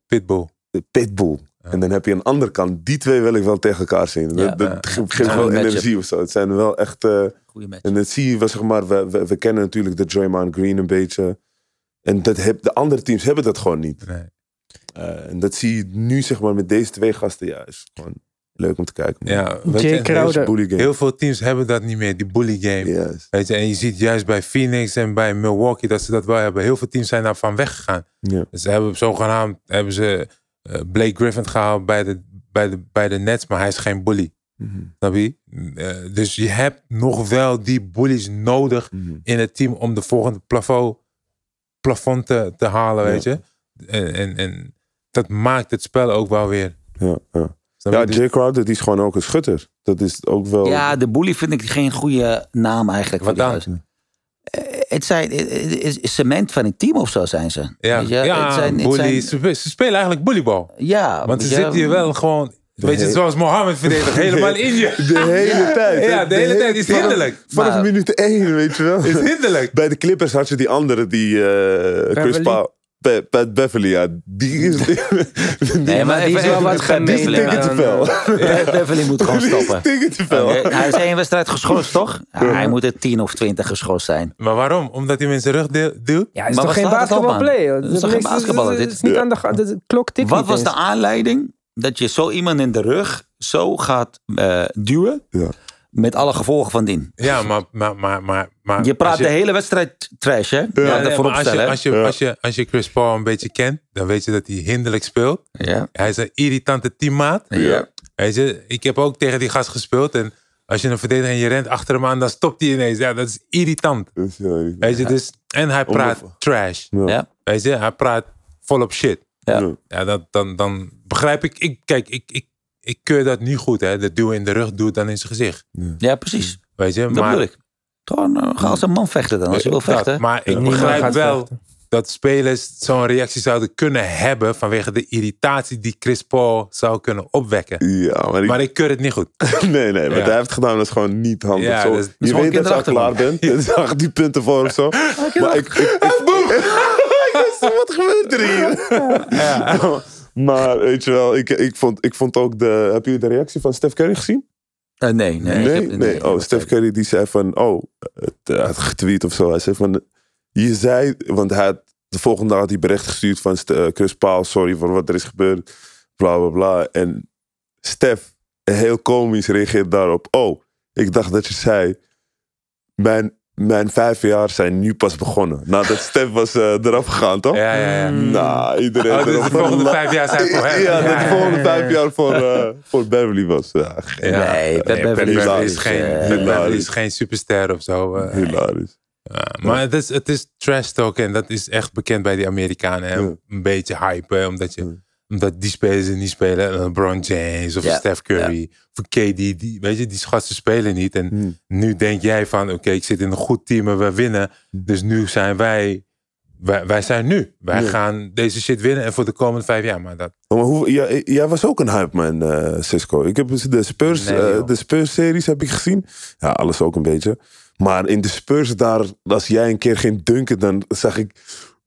Pitbull. de Pitbull. En dan heb je aan de andere kant, die twee wil ik wel tegen elkaar zien. Ja, eh, dat dat ja. ge- Ja, geeft wel een matchup. energie of zo. Het zijn wel echt. eh, Goeie match. en dat zie je wel, zeg maar. We, we, we kennen natuurlijk de Draymond Green een beetje. En dat heb, de andere teams hebben dat gewoon niet. Nee. Eh, en dat zie je nu, zeg maar, met deze twee gasten. Ja, is gewoon leuk om te kijken. man. Ja, weet Jay je, Crowder. Heel bully game. Heel veel teams hebben dat niet meer, die bully game. Yes. Weet je, en je ziet juist bij Phoenix en bij Milwaukee dat ze dat wel hebben. Heel veel teams zijn daarvan weggegaan. Ja. Ze hebben zogenaamd hebben ze eh, Blake Griffin gehaald bij de, bij, de, bij de Nets, maar hij is geen bully. Mhm. Snap je? Eh, dus je hebt nog wel die bullies nodig Mhm. in het team om de volgende plafond, plafond te, te halen, Ja. weet je. En, en, en dat maakt het spel ook wel weer. Ja, ja. Snap je? ja Dus- Jay Crowder die is gewoon ook een schutter. Dat is ook wel. Ja, de bully vind ik geen goede naam eigenlijk. Wat voor die dan? gozer. Eh, Het zijn eh, het is cement van een team of zo zijn ze. ja, Weet je, ja, het zijn- het bully, zijn- ze, ze spelen eigenlijk bullybal. ja, Want ze weet je, zitten hier wel gewoon, weet je, hele- zoals Mohammed verdedigt, helemaal in je. De hele tijd. Ja, de hele tijd is het hinderlijk. Vanaf Maar- minuut één, weet je wel. Is hinderlijk. Bij de Clippers had je die andere, die eh Chris Beverly? Paul. Pe- Pat Beverly, ja. Die is. die- Nee, maar Maar die even, is wel even wat met Pat gemeen, Beverly, hè? maar- Ticket te fel. Pat Beverly moet gewoon Die is stoppen. ticket te fel. Eh, Hij is één wedstrijd geschorst, toch? Ja, Hij moet er 10 of 20 geschorst zijn. Maar waarom? Omdat hij hem in zijn rug de- duwt? Ja, het is Maar toch waar geen slaat het op, man? basketbalplay? joh? Het is toch geen niks- basketballer, Het is dit? niet aan de ga- de klok tikt Wat niet was eens. de aanleiding dat je zo iemand in de rug zo gaat eh, duwen. Ja. Met alle gevolgen van dien. Ja, maar... maar, maar, maar, maar Je praat Ah, als de hele wedstrijd trash, hè? Ja, Ja, dat nee, voorop maar als, je, stellen. als, je, Ja. als, je, als je Chris Paul een beetje kent, dan weet je dat hij hinderlijk speelt. hè? Ja. Hij is een irritante teammaat. Ja. Weet je, ik heb ook tegen die gast gespeeld. En als je een verdediger en je rent achter hem aan, dan stopt hij ineens. Ja, dat is irritant. Dus, ja, Weet je, dus, en hij praat Ongelooflijk. trash. Ja. Weet je, hij praat volop shit. Ja. Ja. Ja, dat, dan, dan begrijp ik, ik. Kijk, ik, ik, ik keur dat niet goed, hè. Dat duwen in de rug doet dan in zijn gezicht. ja, precies. Weet je, Dat maar... bedoel ik. Gewoon eh, ga als een man vechten dan, als je wil Dat, vechten. maar ik Niemand begrijp gaat wel vechten. dat spelers zo'n reactie zouden kunnen hebben vanwege de irritatie die Chris Paul zou kunnen opwekken. Ja, maar ik, Maar ik keur het niet goed. nee, nee, wat Ja. hij heeft gedaan dat is gewoon niet handig. Ja, Zo, dat is- dat is je gewoon weet dat je al klaar kinderachterlijk. bent. Je zag die punten voor of zo. Maar ik, ik, ik- Ik wist, wat gebeurt er hier? Maar weet je wel, ik, ik, vond, ik vond ook de... Heb jullie de reactie van Steph Curry gezien? Eh, nee, nee. ik heb- nee, nee. Oh, Steph Curry die zei van, oh, het, hij had getweet of zo. Hij zei van, je zei, want hij had, de volgende dag had hij bericht gestuurd van eh, Chris Paul, sorry voor wat er is gebeurd, bla bla bla. En Stef, heel komisch, reageert daarop. Oh, ik dacht dat je zei, mijn, mijn vijf jaar zijn nu pas begonnen. Nadat Stef was eh, eraf gegaan, toch? Ja, ja, ja. Mm. Nou, iedereen Oh, dus erop de volgende gelachen. vijf jaar zijn voor hem. Ja, dat de ja. volgende vijf jaar voor, eh, voor Beverly was. Ja, ge- Ja. Nee, Pat Nee, Pat Beverly Beverly is, is geen, eh, Pat Beverly is hilarisch. geen superster of zo. eh. hilarisch. Ja, maar het is, het is trash talk en dat is echt bekend bij die Amerikanen. hè. Ja. Een beetje hype, hè, omdat, je, Ja. omdat die spelers er niet spelen. Eh, LeBron James of Ja, Steph Curry of KD. Die, weet je, die gasten spelen niet. En Hmm. nu denk jij van, oké, ik zit in een goed team en we winnen. Hmm. Dus nu zijn wij, wij, wij zijn nu. Wij Ja. gaan deze shit winnen en voor de komende vijf jaar. Maar dat, Oh, Maar hoe, jij, jij was ook een hype man, eh, Cisco. Ik heb dus de Spurs, Nee, eh, joh. de Spurs series heb ik gezien. Ja, alles ook een beetje. Maar in de Spurs daar, als jij een keer ging dunken, dan zag ik,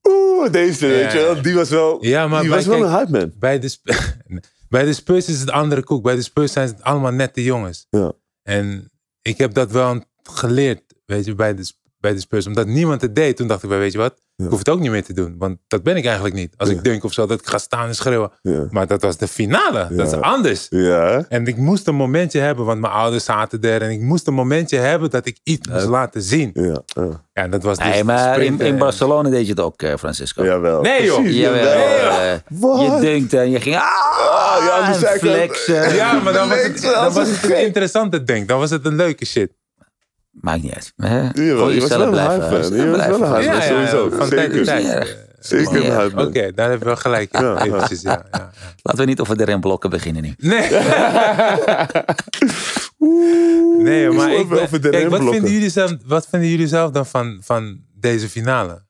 oeh, deze, weet je wel, die was wel, Ja, maar die wij was wel kijk- een hype man. bij, de, Sp- bij de Spurs is het andere koek. Bij de Spurs zijn het allemaal nette jongens. Ja. En ik heb dat wel geleerd, weet je, bij de, Sp- bij de Spurs. Omdat niemand het deed, toen dacht ik, wel, weet je wat, Ja. ik hoef het ook niet meer te doen. Want dat ben ik eigenlijk niet. Als Ja. ik dunk of zo, dat ik ga staan en schreeuwen. Ja, Maar dat was de finale. Dat Ja. is anders. ja hè? En ik moest een momentje hebben, want mijn ouders zaten er. En ik moest een momentje hebben dat ik iets moest laten zien. ja, eh, ja. Ja, en dat was dus Nee, maar in, sprinten in en- Barcelona deed je het ook, eh, Francisco. jawel. Nee, joh. Precies, Jawel, jawel. eh, Wat? je denkt en je ging Oh, ah, Ah, ja, aan de en zijkant. flexen. Ja, maar dan was Leek het, wel dan als was een het een gek. interessante ding. Dan was het een leuke shit. Maakt niet uit. hè? Jawel, Gewoon je jezelf was wel een blijven. hype, man. Je jezelf was blijven. wel een hype, Ja, man. ja. sowieso, van tijd zeker. tot tijd. Ja. Eh, Zeker een hype Oké, man. daar hebben we gelijk in. Ja. Eventjes, ja, ja. Laten we niet over de remblokken beginnen nu. Nee. nee, maar ik Over- ben- over de kijk, wat, remblokken. vinden jullie zelf, wat vinden jullie zelf dan van, van deze finale?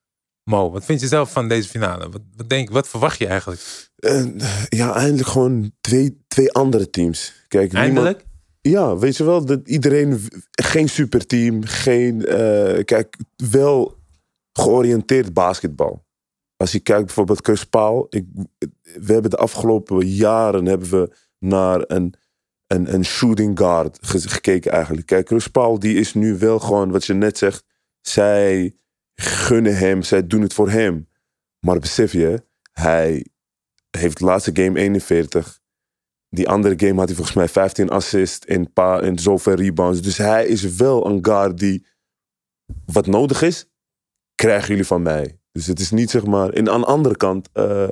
Mo, wat vind je zelf van deze finale? Wat, wat, denk, wat verwacht je eigenlijk? En, ja, eindelijk gewoon twee, twee andere teams. Kijk, niemand, Eindelijk? Ja, weet je wel, dat iedereen, w- geen superteam, geen, eh, kijk, wel georiënteerd basketbal. Als je kijkt bijvoorbeeld Chris Paul, ik, we hebben de afgelopen jaren hebben we naar een, een, een shooting guard ge- gekeken eigenlijk. Kijk, Chris Paul die is nu wel gewoon, wat je net zegt, zij gunnen hem, zij doen het voor hem. Maar besef je, hij heeft de laatste game 41. Die andere game had hij volgens mij 15 assists en, paar, en zoveel rebounds. Dus hij is wel een guard die wat nodig is, krijgen jullie van mij. Dus het is niet zeg maar... En aan de andere kant, eh, eh,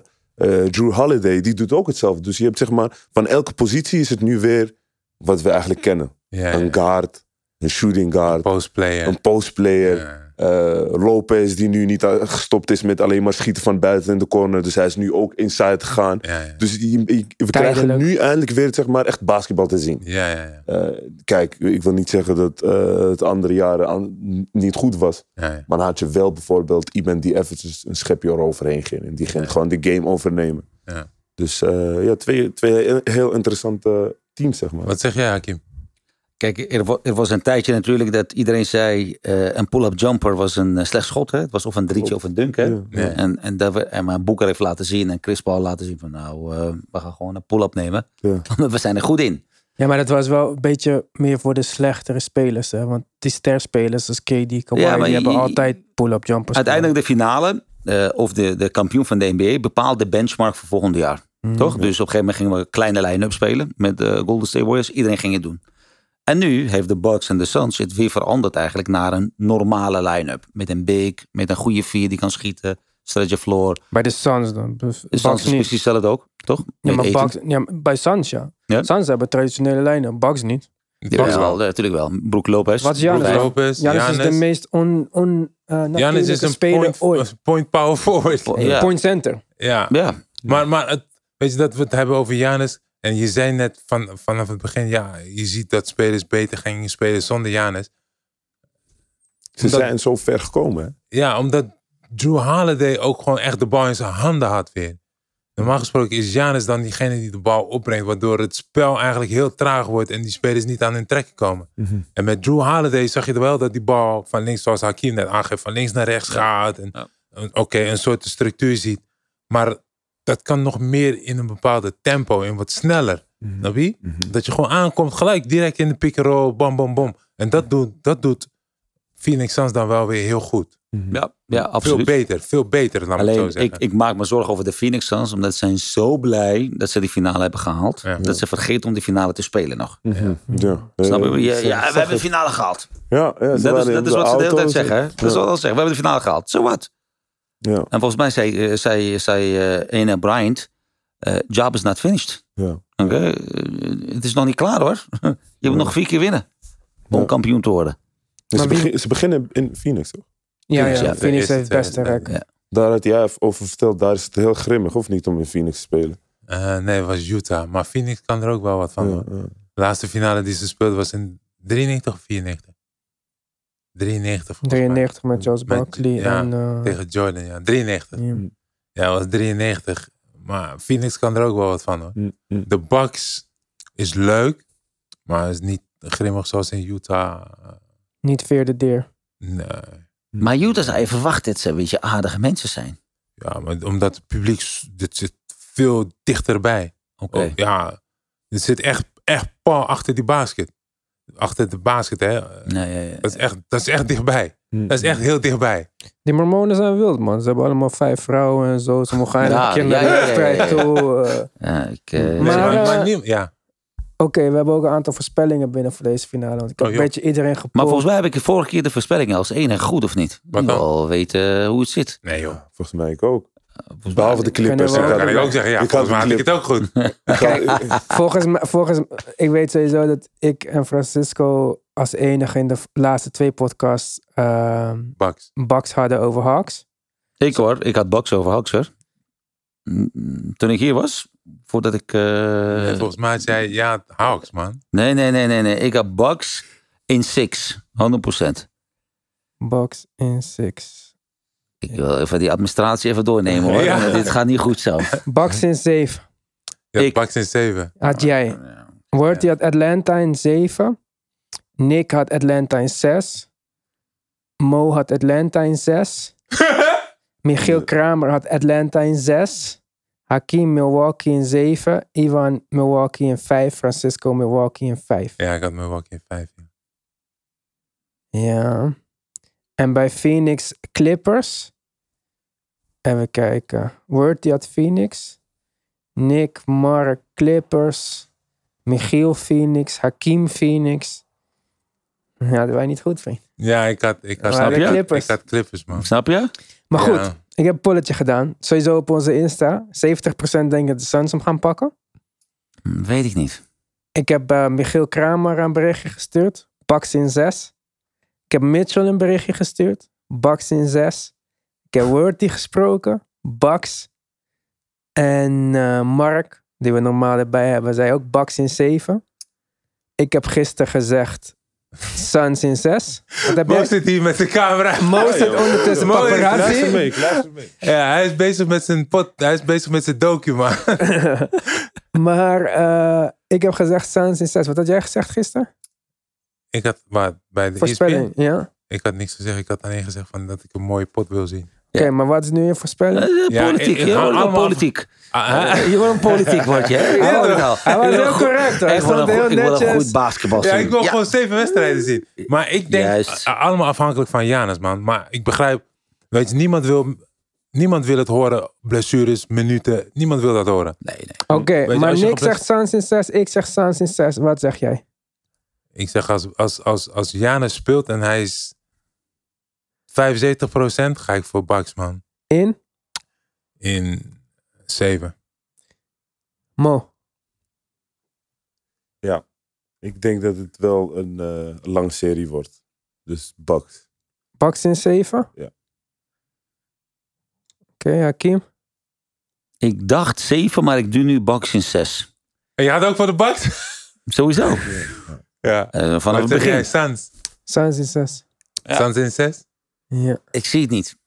Drew Holiday, die doet ook hetzelfde. Dus je hebt zeg maar, van elke positie is het nu weer wat we eigenlijk kennen. Ja, Een guard, een shooting guard, postplayer. een postplayer. Ja. Eh, Lopez, die nu niet a- gestopt is met alleen maar schieten van buiten in de corner. Dus hij is nu ook inside gegaan. Ja, ja. Dus je- je- we krijgen Tijdelijk. nu eindelijk weer zeg maar, echt basketbal te zien. Ja, ja, ja. Eh, kijk, ik wil niet zeggen dat eh, het andere jaren an- niet goed was. ja, ja. Maar dan had je wel bijvoorbeeld iemand die eventjes een schepje eroverheen ging. En die ging gewoon de game overnemen. Ja. Dus eh, ja, twee, twee heel interessante teams, zeg maar. Wat zeg jij, Hakim? Kijk, er, wa- er was een tijdje natuurlijk dat iedereen zei... eh, een pull-up jumper was een eh, slecht schot. Hè? Het was of een drietje of een dunk. Hè? Ja. Ja. En, en, dat we, en mijn boeker heeft laten zien en Chris Paul laten zien van... nou, eh, we gaan gewoon een pull-up nemen. Ja. Want we zijn er goed in. Ja, maar dat was wel een beetje meer voor de slechtere spelers. Hè? Want die sterspelers als KD, Kawhi, Ja, maar die hebben je- altijd pull-up jumpers. Uiteindelijk de finale eh, of de, de kampioen van de NBA bepaalt de benchmark voor volgend jaar. Mm, Toch? Dus op een gegeven moment gingen we kleine line-up spelen met de Golden State Warriors. Iedereen ging het doen. En nu heeft de Bucks en de Suns het weer veranderd eigenlijk naar een normale line-up. Met een big, met een goede vier die kan schieten. Stretch floor. Bij de Suns dan. Dus De Bucks Suns is niet. precies hetzelfde ook, toch? Ja, Met maar Ayton. Bucks, ja, maar bij Suns ja. Ja. Suns hebben traditionele lijnen, Bucks niet. Jawel, wel, natuurlijk wel. Broek Lopez. Wat is Giannis? Brook Lopez. Lopez, Janis is de Giannis. meest on, on, eh, Giannis is natuurlijke een speler point, ooit. een point power forward. Po- Ja. Point center. Ja. Ja, Maar, maar het, weet je dat we het hebben over Janis? En je zei net van, vanaf het begin, ja, je ziet dat spelers beter gingen spelen zonder Janis. Ze Dat- zijn zo ver gekomen. Hè? Ja, omdat Drew Holiday ook gewoon echt de bal in zijn handen had weer. Normaal gesproken is Janis dan diegene die de bal opbrengt, waardoor het spel eigenlijk heel traag wordt en die spelers niet aan hun trekje komen. Mhm. En met Drew Holiday zag je wel dat die bal van links, zoals Hakim net aangeeft, van links naar rechts gaat. En Ja. een- oké, een soort structuur ziet. Maar dat kan nog meer in een bepaalde tempo, in wat sneller. Mhm. Snap je? Dat je gewoon aankomt, gelijk direct in de pick-and-roll, bam, bam, bam. En dat doet, dat doet Phoenix Suns dan wel weer heel goed. ja, ja Veel absoluut. beter, veel beter, laat ik het zo Alleen, ik, zeggen. ik maak me zorgen over de Phoenix Suns. Omdat ze zijn zo blij dat ze die finale hebben gehaald. Ja. Dat ze vergeten om die finale te spelen nog. Ja. Mhm. Snap je? Eh, Ja, ik ja, zag we hebben de het. finale gehaald. Ja, ja, ze Dat is, waren dat in is wat ze de hele tijd auto. zeggen. hè? Dat is wat ze zeggen. We hebben de finale gehaald. Zo wat. Ja, En volgens mij zei, eh, zei, zei eh, Ena Bryant, eh, job is not finished. ja. Oké, eh, het is nog niet klaar hoor. Je moet nog vier keer winnen om Ja. kampioen te worden. Dus Maar ze, wie- begin- ze beginnen in Phoenix, toch? Ja, ja, Dus, Ja, ja de Phoenix eerste, heeft het beste tweede, rek. ja. Daar had jij even over verteld, daar is het heel grimmig, of niet, om in Phoenix te spelen. Eh, nee, het was Utah. Maar Phoenix kan er ook wel wat van. Ja, ja. De laatste finale die ze speelden was in 93 of 94? 93 volgens mij. 93 met Charles Met- Barkley ja, en... eh, Tegen Jordan, ja. 93. ja. Ja, dat was 93. Maar Phoenix kan er ook wel wat van hoor. Mm, mm. De Bucks is leuk, maar is niet grimmig zoals in Utah. Eh, Niet Veerde Deer. Nee. Maar Utah zou je verwacht dat ze een beetje aardige mensen zijn. Ja, maar omdat het publiek, s- dit zit veel dichterbij. Oké. Oh, ja, dit zit echt, echt pal achter die basket. Achter de basket, hè. Nee, ja, ja. Dat is echt, dat is echt dichtbij. Hmm. Mm. Dat is echt heel dichtbij. Die Mormonen zijn wild, man. Ze hebben allemaal vijf vrouwen en zo. Ze mogen eindelijk een Ja, keer naar de ja, ja, ja, wedstrijd ja, ja. toe. eh. Ja, ik, eh, Nee, maar, eh, Dus maar niet- ja. Oké, we hebben ook een aantal voorspellingen binnen voor deze finale. Want ik heb Oh, een joh. beetje iedereen gepoord. maar volgens mij heb ik de vorige keer de voorspelling als enige goed of niet. Wat Ik dan? wil wel weten hoe het zit. Nee joh. Volgens mij ik ook. Volgens mij- Behalve de Clippers. we Dat Ja, kan ik ook zeggen. Ja, Ik volgens mij had had de ik het ook goed. Volgens mij, volgens ik weet sowieso dat ik en Francisco als enige in de v- laatste twee podcasts ehm Bucks. Bucks hadden over Hawks. Ik hoor, ik had box over Hawks hoor. Mm, Toen ik hier was, voordat ik... eh, En volgens mij had jij, ja, Hawks man. Nee, nee, nee, nee, nee. Ik had Bucks in six. 100%. Bucks in six. Ik wil even die administratie even doornemen hoor. Ja. want Dit gaat niet goed zo. Bucks in zeven. Je had Ik- Bucks in 7. Had jij. Worthy had Atlanta in zeven. Nick had Atlanta in zes. Mo had Atlanta in zes. Michiel Kramer had Atlanta in zes. Hakim Milwaukee in zeven. Ivan Milwaukee in vijf. Francisco Milwaukee in vijf. Ja, ik had Milwaukee in 5. Ja. En bij Phoenix Clippers. Even kijken. Worthy had Phoenix. Nick, Mark, Clippers. Michiel Phoenix. Hakim Phoenix. Ja, dat wij niet goed vinden. Ja, ik had, ik had, Snap ik je? had- Clippers. Ik had Clippers man. Snap je? Maar Ja. goed, ik heb een polletje gedaan. Sowieso op onze Insta. 70% denken dat de Suns hem gaan pakken. Hm, Weet ik niet. Ik heb eh, Michiel Kramer een berichtje gestuurd. Bucks in 6. Ik heb Mitchell een berichtje gestuurd. Bucks in 6. Ik heb Worthy gesproken. Bucks. En eh, Mark, die we normaal erbij hebben, zei ook Bucks in 7. Ik heb gisteren gezegd Suns in 6. Wat heb Mo jij? zit hier met de camera. Mo zit ondertussen Mo Oh, is- paparazzi. Luister mee, ik luister mee. Ja, hij is bezig met zijn pot. Hij is bezig met zijn docu man. Maar eh, ik heb gezegd Suns in 6. Wat had jij gezegd gisteren? Ik had, maar bij de E ESPN, Voorspelling, ja? Oké, ik had niks gezegd. Ik had alleen gezegd van dat ik een mooie pot wil zien. maar wat is nu je Eh, voorspelling? Ja, politiek. ik- je ik- wordt wel allemaal- politiek. Ah, ah, Eh, Je wordt een politiek word je. hè? Ik Ja, hoor het toch? al. Hij was Ik wil heel een correct, hoor. Hij ik wil een stond goed- heel Ik wil een netjes. goed basketbal Ja, zien. ik wil gewoon zeven wedstrijden zien. Maar ik denk, ah, Juist. a- allemaal afhankelijk van Janus, man. Maar ik begrijp, weet je, niemand wil Niemand wil het horen. Blessures, minuten. Niemand wil dat horen. Nee, nee. Oké, je, maar als je Nick gebless- zegt Sans in 6, ik zeg Sans in 6. Wat zeg jij? Ik zeg, als, als, als, als Janus speelt en hij is 75%, ga ik voor Bucks, man. In? In 7. Mo. Ik denk dat het wel een eh, lange serie wordt. Dus Bucks. Bucks in 7? Ja. Oké, Hakim. Ik dacht 7, maar ik doe nu Bucks in 6. En je had ook voor de Bucks? Sowieso. Ja. Eh, vanaf Wat het zeg jij, begin. Sans? Sans in 6. Ja. Sans in 6? Ja. Ik zie het niet.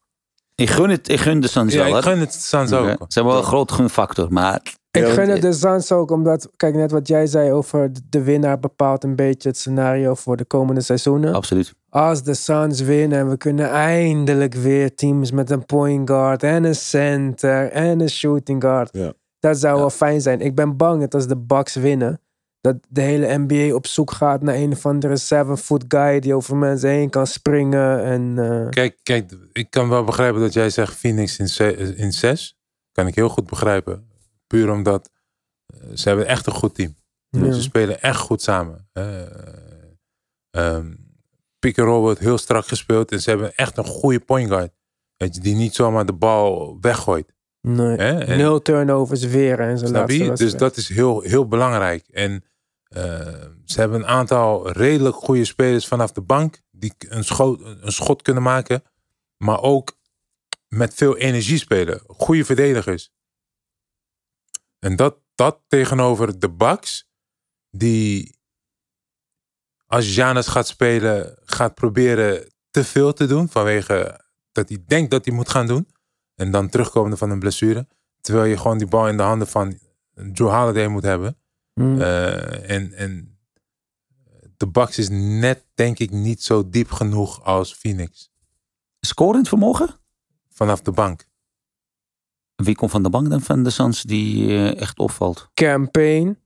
Ik gun, het, ik gun de Suns Ja, wel. ik hoor. gun het Sans Oké. ook. Ze hebben wel een groot gunfactor, maar Ik Ja, gun want- het de Suns ook, omdat, kijk net wat jij zei over de- de winnaar bepaalt een beetje het scenario voor de komende seizoenen. absoluut. Als de Suns winnen en we kunnen eindelijk weer teams met een point guard en een center en een shooting guard. Ja. Dat zou Ja. wel fijn zijn. Ik ben bang dat als de Bucks winnen, dat de hele NBA op zoek gaat naar een of andere seven-foot guy die over mensen heen kan springen. En, eh, Kijk, kijk, ik kan wel begrijpen dat jij zegt Phoenix in, ze- in 6. Kan ik heel goed begrijpen. Puur omdat eh, ze hebben echt een goed team. ja. Ze spelen echt goed samen. Eh, ehm, pick and roll wordt heel strak gespeeld. En ze hebben echt een goede point guard. Weet je, die niet zomaar de bal weggooit. Nee. Hè? En- Nul turnovers weer en zo Snap laatste je? Dus wedstrijd. dat is heel, heel belangrijk. En eh, ze hebben een aantal redelijk goede spelers vanaf de bank. Die k- een, scho- een schot kunnen maken. Maar ook met veel energie spelen. Goede verdedigers. En dat, dat tegenover de Bucks. Die als Janus gaat spelen. Gaat proberen te veel te doen. Vanwege dat hij denkt dat hij moet gaan doen. En dan terugkomende van een blessure. Terwijl je gewoon die bal in de handen van Joe Holiday moet hebben. Mm. Eh, en, en de Bucks is net, denk ik, niet zo diep genoeg als Phoenix. Scorend vermogen? Vanaf de bank. Wie komt van de bank dan van de Suns die eh, echt opvalt? campaign.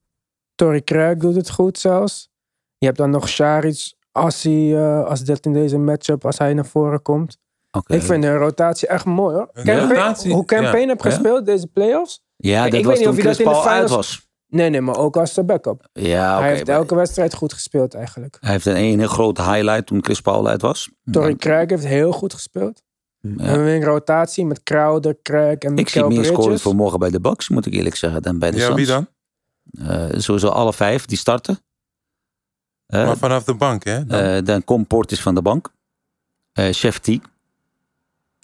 Tory Craig doet het goed zelfs. Je hebt dan nog Sharic als, hij, eh, als dit in deze matchup, als hij naar voren komt. Oké. Ik vind de rotatie echt mooi hoor. Een Campaign- rotatie, hoe campaign ja. heb Ja. gespeeld deze playoffs? Ja, Ik dat weet was niet toen of je Chris dat in de Paul uit finals- was. Nee, nee, maar ook als de backup. Ja, oké. hij heeft maar elke wedstrijd goed gespeeld eigenlijk. hij heeft een ene grote highlight toen Chris Paul uit was. Tory Maar- Craig heeft heel goed gespeeld. Ja. En we een rotatie met Crowder, Craig en Ik zie Michael meer scorend Bridges. vermogen bij de Bucks, moet ik eerlijk zeggen, dan bij de Ja, Suns. wie dan? Eh, sowieso alle vijf die starten. Eh, Maar vanaf de bank, hè? Dan. eh, dan komt Portis van de bank. Eh Chef T. Die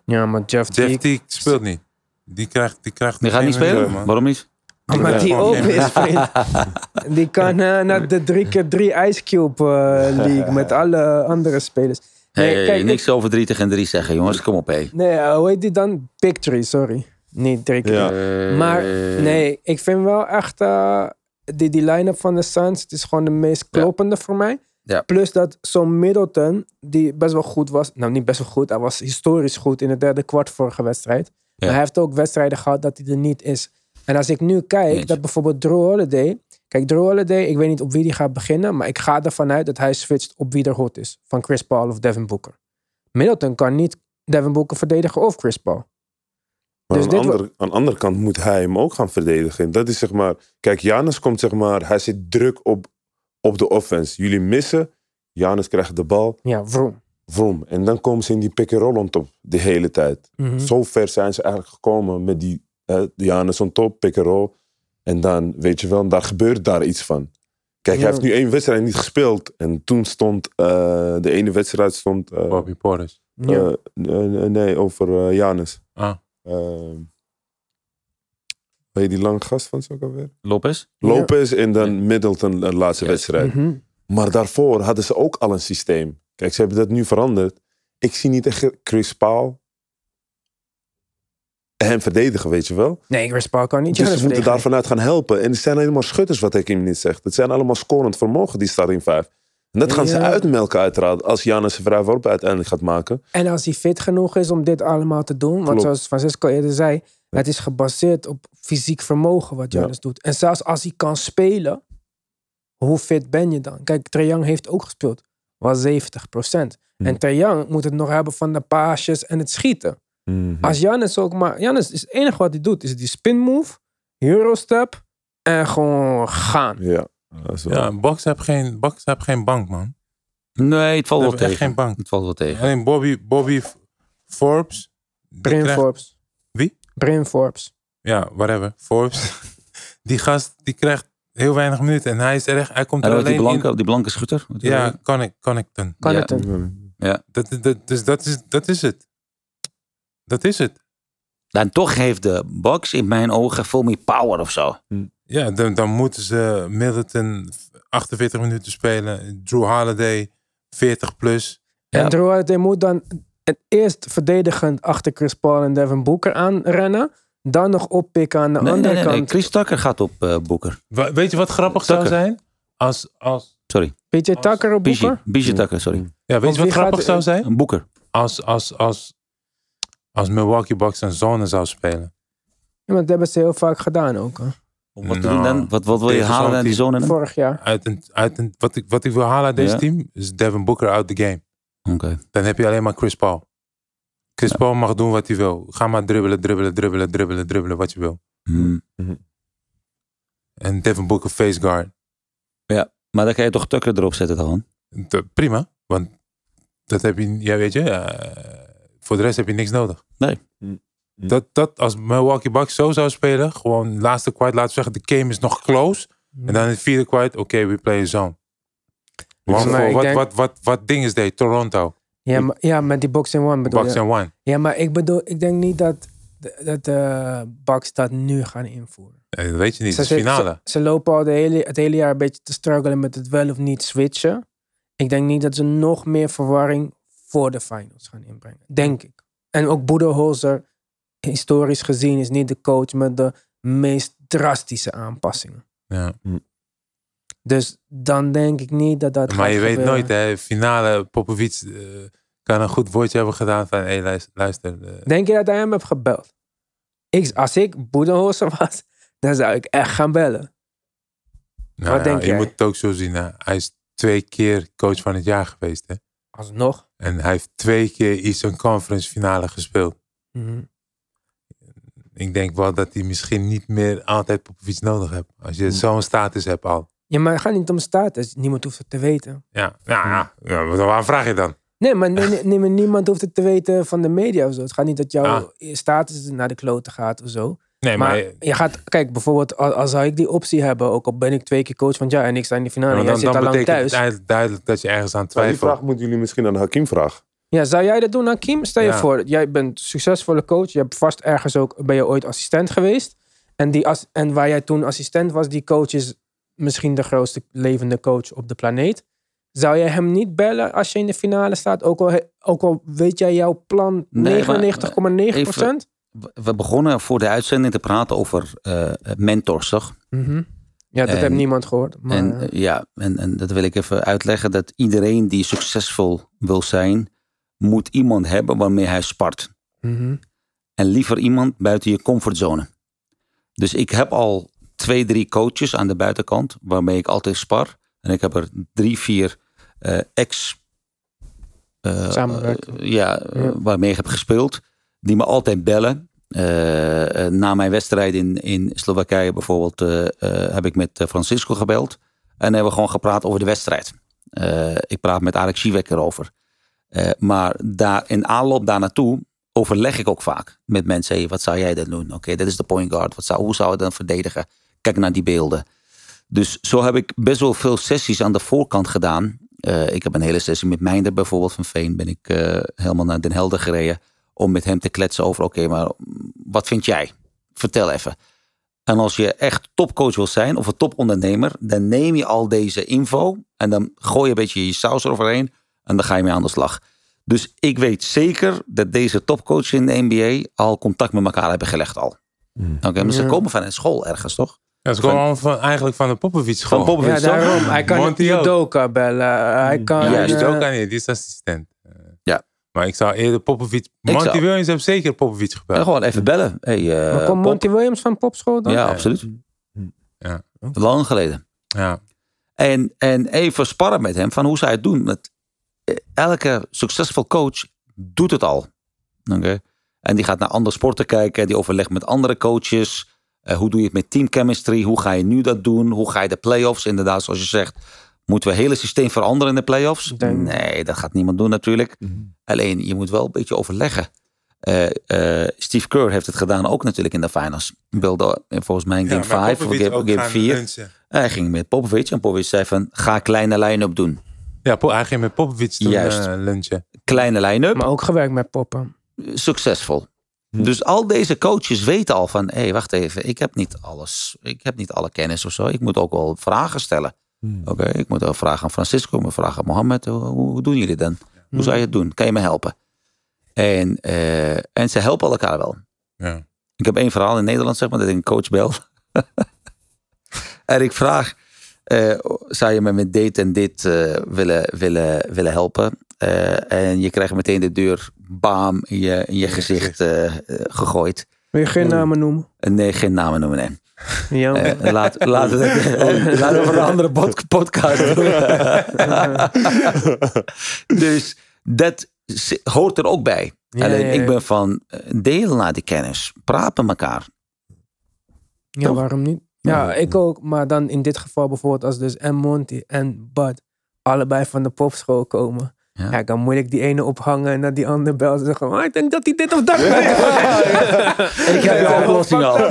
Ja, maar Jeff, Jeff Teague. Teague speelt niet. Die krijgt, die krijgt gaat niet geen minuut, spelen? man. Waarom niet? Maar die Ja. ook is, vriend. Die kan eh, naar de 3x3 Ice Cube eh, League met alle andere spelers. Hey, Nee, hey, kijk, niks over 30 en 3 zeggen, jongens. Kom op, hé. ik- nee eh, hoe heet die dan? Pictory, sorry. Niet 3 Ja. Maar Eh. nee, ik vind wel echt eh, die, die line-up van de Suns, het is gewoon de meest Ja. kloppende voor mij. Ja. Plus dat zo'n Middleton, die best wel goed was, nou niet best wel goed, hij was historisch goed in het derde kwart vorige wedstrijd. Maar hij heeft ook wedstrijden gehad dat hij er niet is. En als ik nu kijk, Eens. dat bijvoorbeeld Drew Holiday, kijk Drew Holiday, ik weet niet op wie die gaat beginnen, maar ik ga ervan uit dat hij switcht op wie er hot is, van Chris Paul of Devin Booker. Middleton kan niet Devin Booker verdedigen of Chris Paul. Maar Dus aan, dit ander- aan de andere kant moet hij hem ook gaan verdedigen. Dat is zeg maar... Kijk, Janus komt zeg maar... Hij zit druk op, op de offense. Jullie missen. Janus krijgt de bal. Ja, vroom. Vroom. En dan komen ze in die pick-and-roll on top de hele tijd. Mhm. Zo ver zijn ze eigenlijk gekomen met die eh, Janus on top, pick-and-roll. En dan, weet je wel, daar gebeurt daar iets van. Kijk, Ja. hij heeft nu één wedstrijd niet gespeeld. En toen stond... eh, de ene wedstrijd stond... eh, Bobby Portis. Ja. eh, eh, nee, over eh, Janus. Ah. Ehm, weet je die lange gast van zo alweer? Lopez? Lopez en dan Middleton de laatste Juist. wedstrijd. Mhm. Maar daarvoor hadden ze ook al een systeem. Kijk, ze hebben dat nu veranderd. Ik zie niet echt Chris Paul hem verdedigen, weet je wel. Nee, Chris Paul kan niet. Dus Jonas ze moeten verdedigen. daar vanuit gaan helpen. En het zijn helemaal schutters, wat ik hem niet zeg. Het zijn allemaal scorend vermogen, die staat in vijf. En dat gaan ze Ja. uitmelken uiteraard. Als Janus een vrij worp uiteindelijk gaat maken. En als hij fit genoeg is om dit allemaal te doen, want Klopt. zoals Francisco eerder zei, het is gebaseerd op fysiek vermogen wat Ja. Jonas doet. En zelfs als hij kan spelen, hoe fit ben je dan? Kijk, Trae Young heeft ook Hm. gespeeld, was 70 En Trae Young moet het nog hebben van de paasjes en het schieten. Mhm. Hm. Als Jannis ook maar... Jannis is het enige wat hij doet. Is die spin move, Eurostep en gewoon gaan. Ja, dat is wel- Ja, Box heb geen, Box heb geen bank, man. Nee, het valt Ze wel hebben echt tegen. geen bank. Het valt wel tegen. Alleen Bobby, Bobby F- Forbes. die Brain krijgt- Forbes. Wie? Brain Forbes. Ja, whatever. Forbes. Die gast die krijgt heel weinig minuten. En hij is er echt. Hij komt En er dan wordt die alleen blanke, in. die blanke schutter. Wat wil je? Ja, Connick- Connington. Kan Ja. het een. Dat, dat, dus dat is, dat is het. Dat is het. Dan toch heeft de box in mijn ogen veel meer power of zo. Ja, dan, dan moeten ze Middleton 48 minuten spelen. Drew Holiday 40 plus. Ja. En Drew Holiday moet dan het eerst verdedigend achter Chris Paul en Devin Booker aanrennen. Dan nog oppikken aan de Nee, andere nee, nee, nee. kant. Chris Tucker gaat op eh Boeker. Wa- Weet je wat grappig zou Tucker. zijn? Als, als, PJ Als- Tucker op Bijie Booker? Bijie Tucker, sorry. ja, weet Want je wat wie grappig gaat- zou zijn? Een Boeker. Als, als, als, als Milwaukee Bucks een zone zou spelen. Ja, maar dat hebben ze heel vaak gedaan ook. hè. Om wat te Nou, doen dan? Wat, wat wil je tegen halen zo'n naar die team. zone? dan? Oké. Vorig jaar. Uit een, uit een, wat, ik, wat ik wil halen uit deze Ja. team is Devin Booker out the game. Dan heb je alleen maar Chris Paul. Chris Paul mag doen wat hij wil. Ga maar dribbelen, dribbelen, dribbelen, dribbelen, dribbelen, wat je wil. Hmm. En Devin Booker face guard. Maar dan kan je toch Tucker erop zetten dan? Dat- prima, want dat heb je, ja weet je, eh, voor de rest heb je niks nodig. Nee. Mm. Hm. Dat, dat als Milwaukee Bucks zo zou spelen, gewoon laatste kwart, laten we zeggen, de game is nog close. En dan in het vierde kwart, oké, we play a zone. Want maar voor ik wat, denk- wat, wat, wat ding is deed, Toronto, Ja, maar, ja, met die Box in One bedoel Bucks je. en one. Ja, maar ik bedoel, ik denk niet dat, dat de Bucks dat nu gaan invoeren. Eh, Dat weet je niet, Ze, het is zit- finale. ze, ze lopen al de hele, het hele jaar een beetje te struggelen met het wel of niet switchen. Ik denk niet dat ze nog meer verwarring voor de finals gaan inbrengen. Denk ik. En ook Boedelholzer, historisch gezien, is niet de coach met de meest drastische aanpassingen. Ja. Dus dan denk ik niet dat dat. Maar gaat je weet gebeuren. nooit, hè, finale, Popovic eh, kan een goed woordje hebben gedaan van, hé, hey, luister, luister eh, Denk je dat hij hem heeft gebeld? Ik, als ik Boedelholzer was, dan zou ik echt gaan bellen. nou Wat ja, denk je jij? moet het ook zo zien, hè. hij is twee keer coach van het jaar geweest, hè. Alsnog. En hij heeft twee keer Eastern Conference finale gespeeld. Mhm. Ik denk wel dat hij misschien niet meer altijd Popovic nodig hebt. Als je zo'n status hebt al. Ja, maar het gaat niet om status. Niemand hoeft het te weten. Ja, nou ja, ja, wat- waarom vraag je dan? Nee, maar, nee, nee, nee, maar niemand hoeft het te weten van de media of zo. Het gaat niet dat jouw Ah. status naar de kloten gaat of zo. Nee, maar maar, je gaat, kijk, bijvoorbeeld, al, al zou ik die optie hebben, ook al ben ik twee keer coach van ja en ik sta in de Ja, finale, maar jij dan, zit dan al lang betekent het thuis. eigenlijk duidelijk dat je ergens aan Maar die twijfelt. vraag moeten jullie misschien aan Hakim vragen. Ja, zou jij dat doen, Hakim? Stel je Ja. voor, jij bent succesvolle coach. Je hebt vast ergens ook, ben je ooit assistent geweest. En, die as, en waar jij toen assistent was, die coach is misschien de grootste levende coach op de planeet. Zou jij hem niet bellen als je in de finale staat? Ook al, he- ook al weet jij jouw plan 99,9%? Nee, maar- We- We begonnen voor de uitzending te praten over eh, mentors, toch? Mhm. Ja, dat En- heeft niemand gehoord. Maar, en eh, ja, en, en dat wil ik even uitleggen. Dat iedereen die succesvol wil zijn, moet iemand hebben waarmee hij spart. mhm. En liever iemand buiten je comfortzone. Dus ik heb al twee, drie coaches aan de buitenkant waarmee ik altijd spar. En ik heb er drie, vier eh, ex... eh, Samenwerker. eh, ja, eh, Ja. waarmee ik heb gespeeld. Die me altijd bellen. Eh, eh, na mijn wedstrijd in, in Slowakije bijvoorbeeld eh, eh, heb ik met eh, Francisco gebeld. En hebben we gewoon gepraat over de wedstrijd. Eh, ik praat met Alex Sivek erover. Eh, maar daar, in aanloop daar naartoe overleg ik ook vaak met mensen. Hey, wat zou jij dan doen? Oké, dat is de point guard. Wat zou, hoe zou je dan verdedigen? Kijk naar die beelden. Dus zo heb ik best wel veel sessies aan de voorkant gedaan. Eh, ik heb een hele sessie met Meinder bijvoorbeeld van Veen. Ben ik eh, helemaal naar Den Helder gereden. Om met hem te kletsen over, oké, maar wat vind jij? Vertel even. En als je echt topcoach wil zijn of een topondernemer, dan neem je al deze info en dan gooi je een beetje je saus eroverheen en dan ga je mee aan de slag. Dus ik weet zeker dat deze topcoaches in de NBA al contact met elkaar hebben gelegd al. Oké, maar ze Ja. komen van een school ergens, toch? Dat is gewoon allemaal van, eigenlijk van de Popovic Van school. Popovic, ja, toch? daarom. Hij kan Monty een ook. judoka bellen. Hij kan... Ja, Juist. die is eh, ook aan je, die is assistent. Eh, Ja. Maar ik zou eerder Popovic... zou- Monty Williams heeft zeker Popovic Ja, gebeld. gewoon even bellen. Hey, eh, maar komt Pop. Monty Williams van popschool dan? Ja, absoluut. Ja. Lang geleden. Ja. En, en even sparren met hem van hoe zij het doen. Want eh, elke succesvol coach doet het al. Oké? En die gaat naar andere sporten kijken. Die overlegt met andere coaches. Eh, hoe doe je het met team chemistry? Hoe ga je nu dat doen? Hoe ga je de play-offs? Inderdaad, zoals je zegt. Moeten we het hele systeem veranderen in de play-offs? Ik denk- Mhm. Nee, dat gaat niemand doen natuurlijk. Alleen, je moet wel een beetje overleggen. Eh, eh, Steve Kerr heeft het gedaan ook natuurlijk in de finals. Beelde eh, volgens mij in game 5 of game- game 4. Hij ging met Popovic en Popovic zei van ga kleine line-up doen. Ja, Po- hij ging met Popovic toen Juist. eh, lunchen. Kleine line-up, Maar ook gewerkt met poppen. succesvol. Dus al deze coaches weten al van hé, hey, wacht even, ik heb niet alles. Ik heb niet alle kennis of zo. Ik moet ook wel vragen stellen. Oké, ik moet wel vragen aan Francisco, maar vragen aan Mohammed. Hoe, hoe doen jullie dan? Hoe zou je het doen? Kan je me helpen? En, eh, en ze helpen elkaar wel. Ja. Ik heb één verhaal in Nederland, zeg maar, dat ik een coach bel. en ik vraag, eh, zou je me met dit en dit eh, willen, willen, willen helpen? Eh, en je krijgt meteen de deur, bam, in je, in je gezicht eh, eh, gegooid. Wil je geen namen noemen? Eh, Nee, geen namen noemen, nee. Ja. Eh, laat, laten we het laten we voor een andere pod- podcast doen. dus dat zi- hoort er ook bij. Ja, ja, Alleen ja. ik ben van, eh, deel naar die kennis. Praat met elkaar. Ja, Toch? waarom niet? Ja, ik ook. Maar dan in dit geval bijvoorbeeld als dus en Monty en Bud allebei van de popschool komen. Ja. Ja, dan moet ik die ene ophangen en dan die andere belt en zeggen, "Ah, ik denk dat hij dit of dat Ik heb je oplossing al.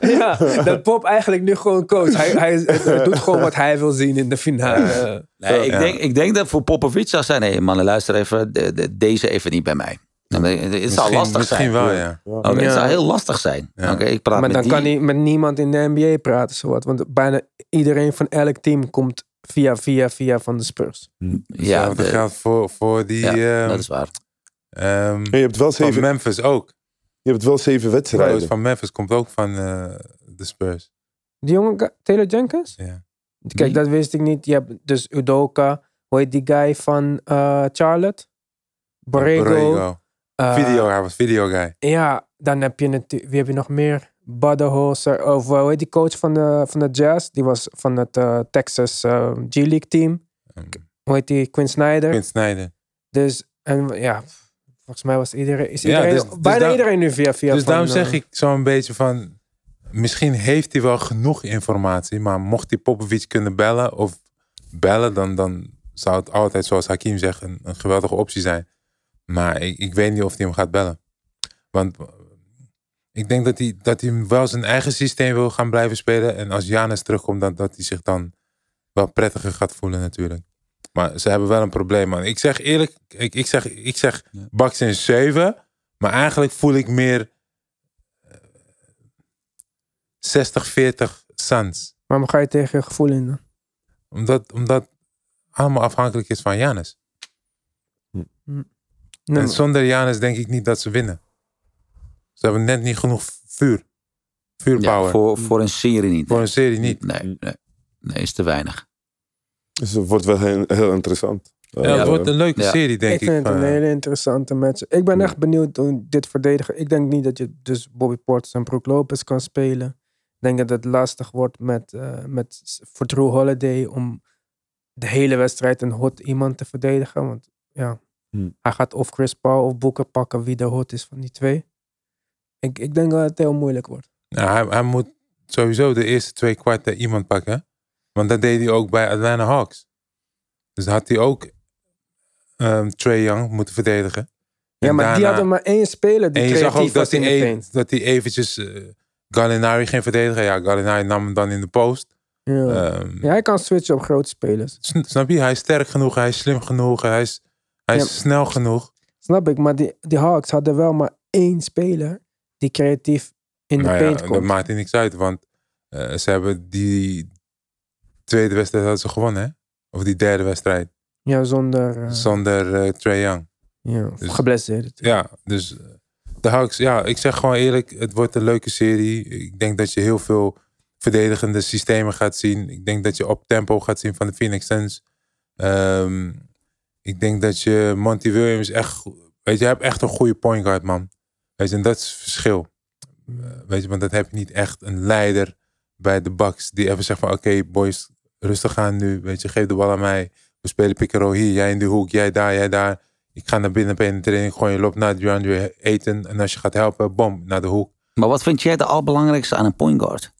Ja, dat Pop eigenlijk nu gewoon coach. Hij, hij het- het doet gewoon wat hij wil zien in de finale. Nee, Eh, ik, Ja. denk, ik denk dat voor Popovic zou zijn, nee mannen, luister even, de- de- deze even niet bij mij. Dan- Het zou Misschien- lastig zijn. Misschien wel, ja. Oké, Het Ja. zou heel lastig zijn. Oké, ik Maar praat met dan die. kan hij met niemand in de NBA praten, zowat. Want bijna iedereen van elk team komt via, via, via van de Spurs. Ja, Hetzelfde de- geldt voor, voor die... ja, ehm, dat is waar. ehm, Ja, je, hebt wel van zeven, Memphis ook. je hebt wel zeven Trouwens, wedstrijden. van Memphis komt ook van eh, de Spurs. Die jongen, Ga- Taylor Jenkins? Ja. Kijk, dat wist ik niet. Je hebt dus Udoka. Hoe heet die guy van eh, Charlotte? Borrego. Borrego. eh, Video, hij was video guy. Ja, dan heb je natuurlijk... Wie heb je nog meer? Badenholzer. Of eh, hoe heet die coach van de, van de Jazz? Die was van het eh, Texas eh, G-League team. Ehm, Hoe heet die? Quinn Snyder. Quinn Snyder. Dus, en ja... Volgens mij was iedereen, is Ja, iedereen, dus- dus bijna daar- iedereen nu via via. dus van, daarom zeg eh, ik zo'n beetje van... Misschien heeft hij wel genoeg informatie, maar mocht hij Popovic kunnen bellen of bellen, dan, dan zou het altijd, zoals Hakim zegt, een, een geweldige optie zijn. Maar ik, ik weet niet of hij hem gaat bellen. Want eh, ik denk dat hij, dat hij hem wel zijn eigen systeem wil gaan blijven spelen. En als Janis terugkomt, dan, dat hij zich dan wel prettiger gaat voelen natuurlijk. Maar ze hebben wel een probleem, man. Ik zeg eerlijk, ik, ik zeg, ik zeg Ja. Bucks in 7. Maar eigenlijk voel ik meer eh, 60-40 Suns. Waarom ga je tegen je gevoel in dan? Omdat, omdat allemaal afhankelijk is van Janis. Nee, En zonder Janis denk ik niet dat ze winnen. Ze hebben net niet genoeg vuur. Vuurpower. Ja, voor... voor, voor een serie niet. een serie niet. Nee, nee, nee, is te weinig. Dus het wordt wel heel, heel interessant. Ja, Eh, het wordt een leuke Ja. serie, denk ik. eh, ik vind het van- een hele interessante match. Ik ben echt benieuwd hoe dit verdedigen. Ik denk niet dat je dus Bobby Portis en Brook Lopez kan spelen. Ik denk dat het lastig wordt met, eh, met, s- voor Drew Holiday om de hele wedstrijd een hot iemand te verdedigen. Want ja, Hm. Hmm. hij gaat of Chris Paul of Booker pakken wie de hot is van die twee. Ik, ik denk dat het heel moeilijk wordt. Nou, hij, hij moet sowieso de eerste twee kwarten iemand pakken. Want dat deed hij ook bij Atlanta Hawks. Dus had hij ook ehm Trey Young moeten verdedigen. Ja, En maar die daarna- hadden maar één speler die En je zag ook creatief dat was hij, in de e- paint. dat hij eventjes eh, Gallinari ging verdedigen. Ja, Gallinari nam hem dan in de post. Ja. Ehm, ja, hij kan switchen op grote spelers. sn- Snap je? Hij is sterk genoeg, hij is slim genoeg, hij is, hij is Ja. snel genoeg. Snap ik, maar die, die Hawks hadden wel maar één speler die creatief in de Nou ja, paint dat komt. maakt hij niks uit, want eh, ze hebben die tweede wedstrijd hadden ze gewonnen, hè? Of die derde wedstrijd, Ja, zonder... eh, zonder eh, Trae Young. ja, of dus- geblesseerd. Ja, dus eh, de Hawks, ja, ik zeg gewoon eerlijk, het wordt een leuke serie. Ik denk dat je heel veel verdedigende systemen gaat zien. Ik denk dat je op tempo gaat zien van de Phoenix Suns. Ehm, ik denk dat je Monty Williams echt, go- weet je, je hebt echt een goede point guard man. Weet je, en dat is het verschil. Eh, Weet je, want dat heb je niet echt een leider bij de Bucks die even zegt van, oké boys, rustig aan nu. Weet je, geef de bal aan mij. We spelen pick and roll hier, jij in de hoek, jij daar, jij daar. Ik ga naar binnen, penetrering, gewoon je loopt naar DeAndre eten. En als je gaat helpen, bom, naar de hoek. Maar wat vind jij de allerbelangrijkste aan een point guard?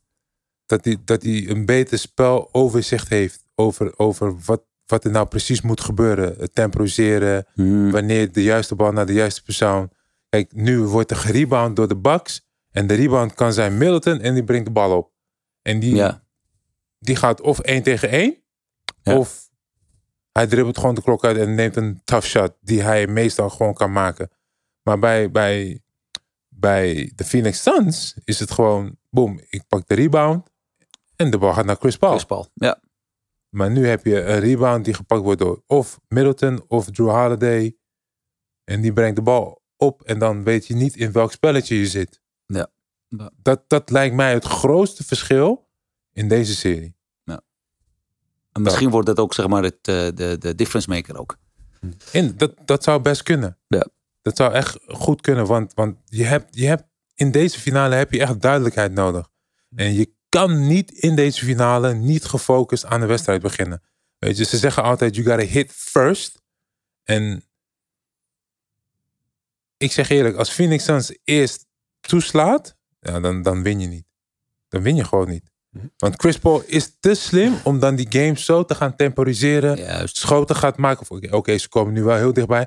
dat hij, dat hij een beter spel overzicht heeft over, over wat, wat er nou precies moet gebeuren. Het temporiseren, Hmm. wanneer de juiste bal naar de juiste persoon. Kijk, nu wordt er gerebound door de Bucks. En de rebound kan zijn Middleton en die brengt de bal op. En die, Oh. Ja. die gaat of één tegen één, Ja. of hij dribbelt gewoon de klok uit en neemt een tough shot die hij meestal gewoon kan maken. Maar bij, bij, bij de Phoenix Suns is het gewoon, boom, ik pak de rebound en de bal gaat naar Chris Paul. Chris Paul. Ja. Maar nu heb je een rebound die gepakt wordt door of Middleton of Drew Holiday. En die brengt de bal op en dan weet je niet in welk spelletje je zit. Ja. Ja. Dat, dat lijkt mij het grootste verschil in deze serie. En misschien wordt dat ook zeg maar het, eh, de, de difference maker ook. In, dat, dat zou best kunnen. Ja. Dat zou echt goed kunnen, want, want je hebt, je hebt, in deze finale heb je echt duidelijkheid nodig. En je kan niet in deze finale niet gefocust aan de wedstrijd beginnen. Weet je, ze zeggen altijd, you gotta hit first. En ik zeg eerlijk, als Phoenix Suns eerst toeslaat, ja, dan, dan win je niet. Dan win je gewoon niet. Want Chris Paul is te slim om dan die game zo te gaan temporiseren Juist. schoten gaat maken. Of, Oké, oké, ze komen nu wel heel dichtbij.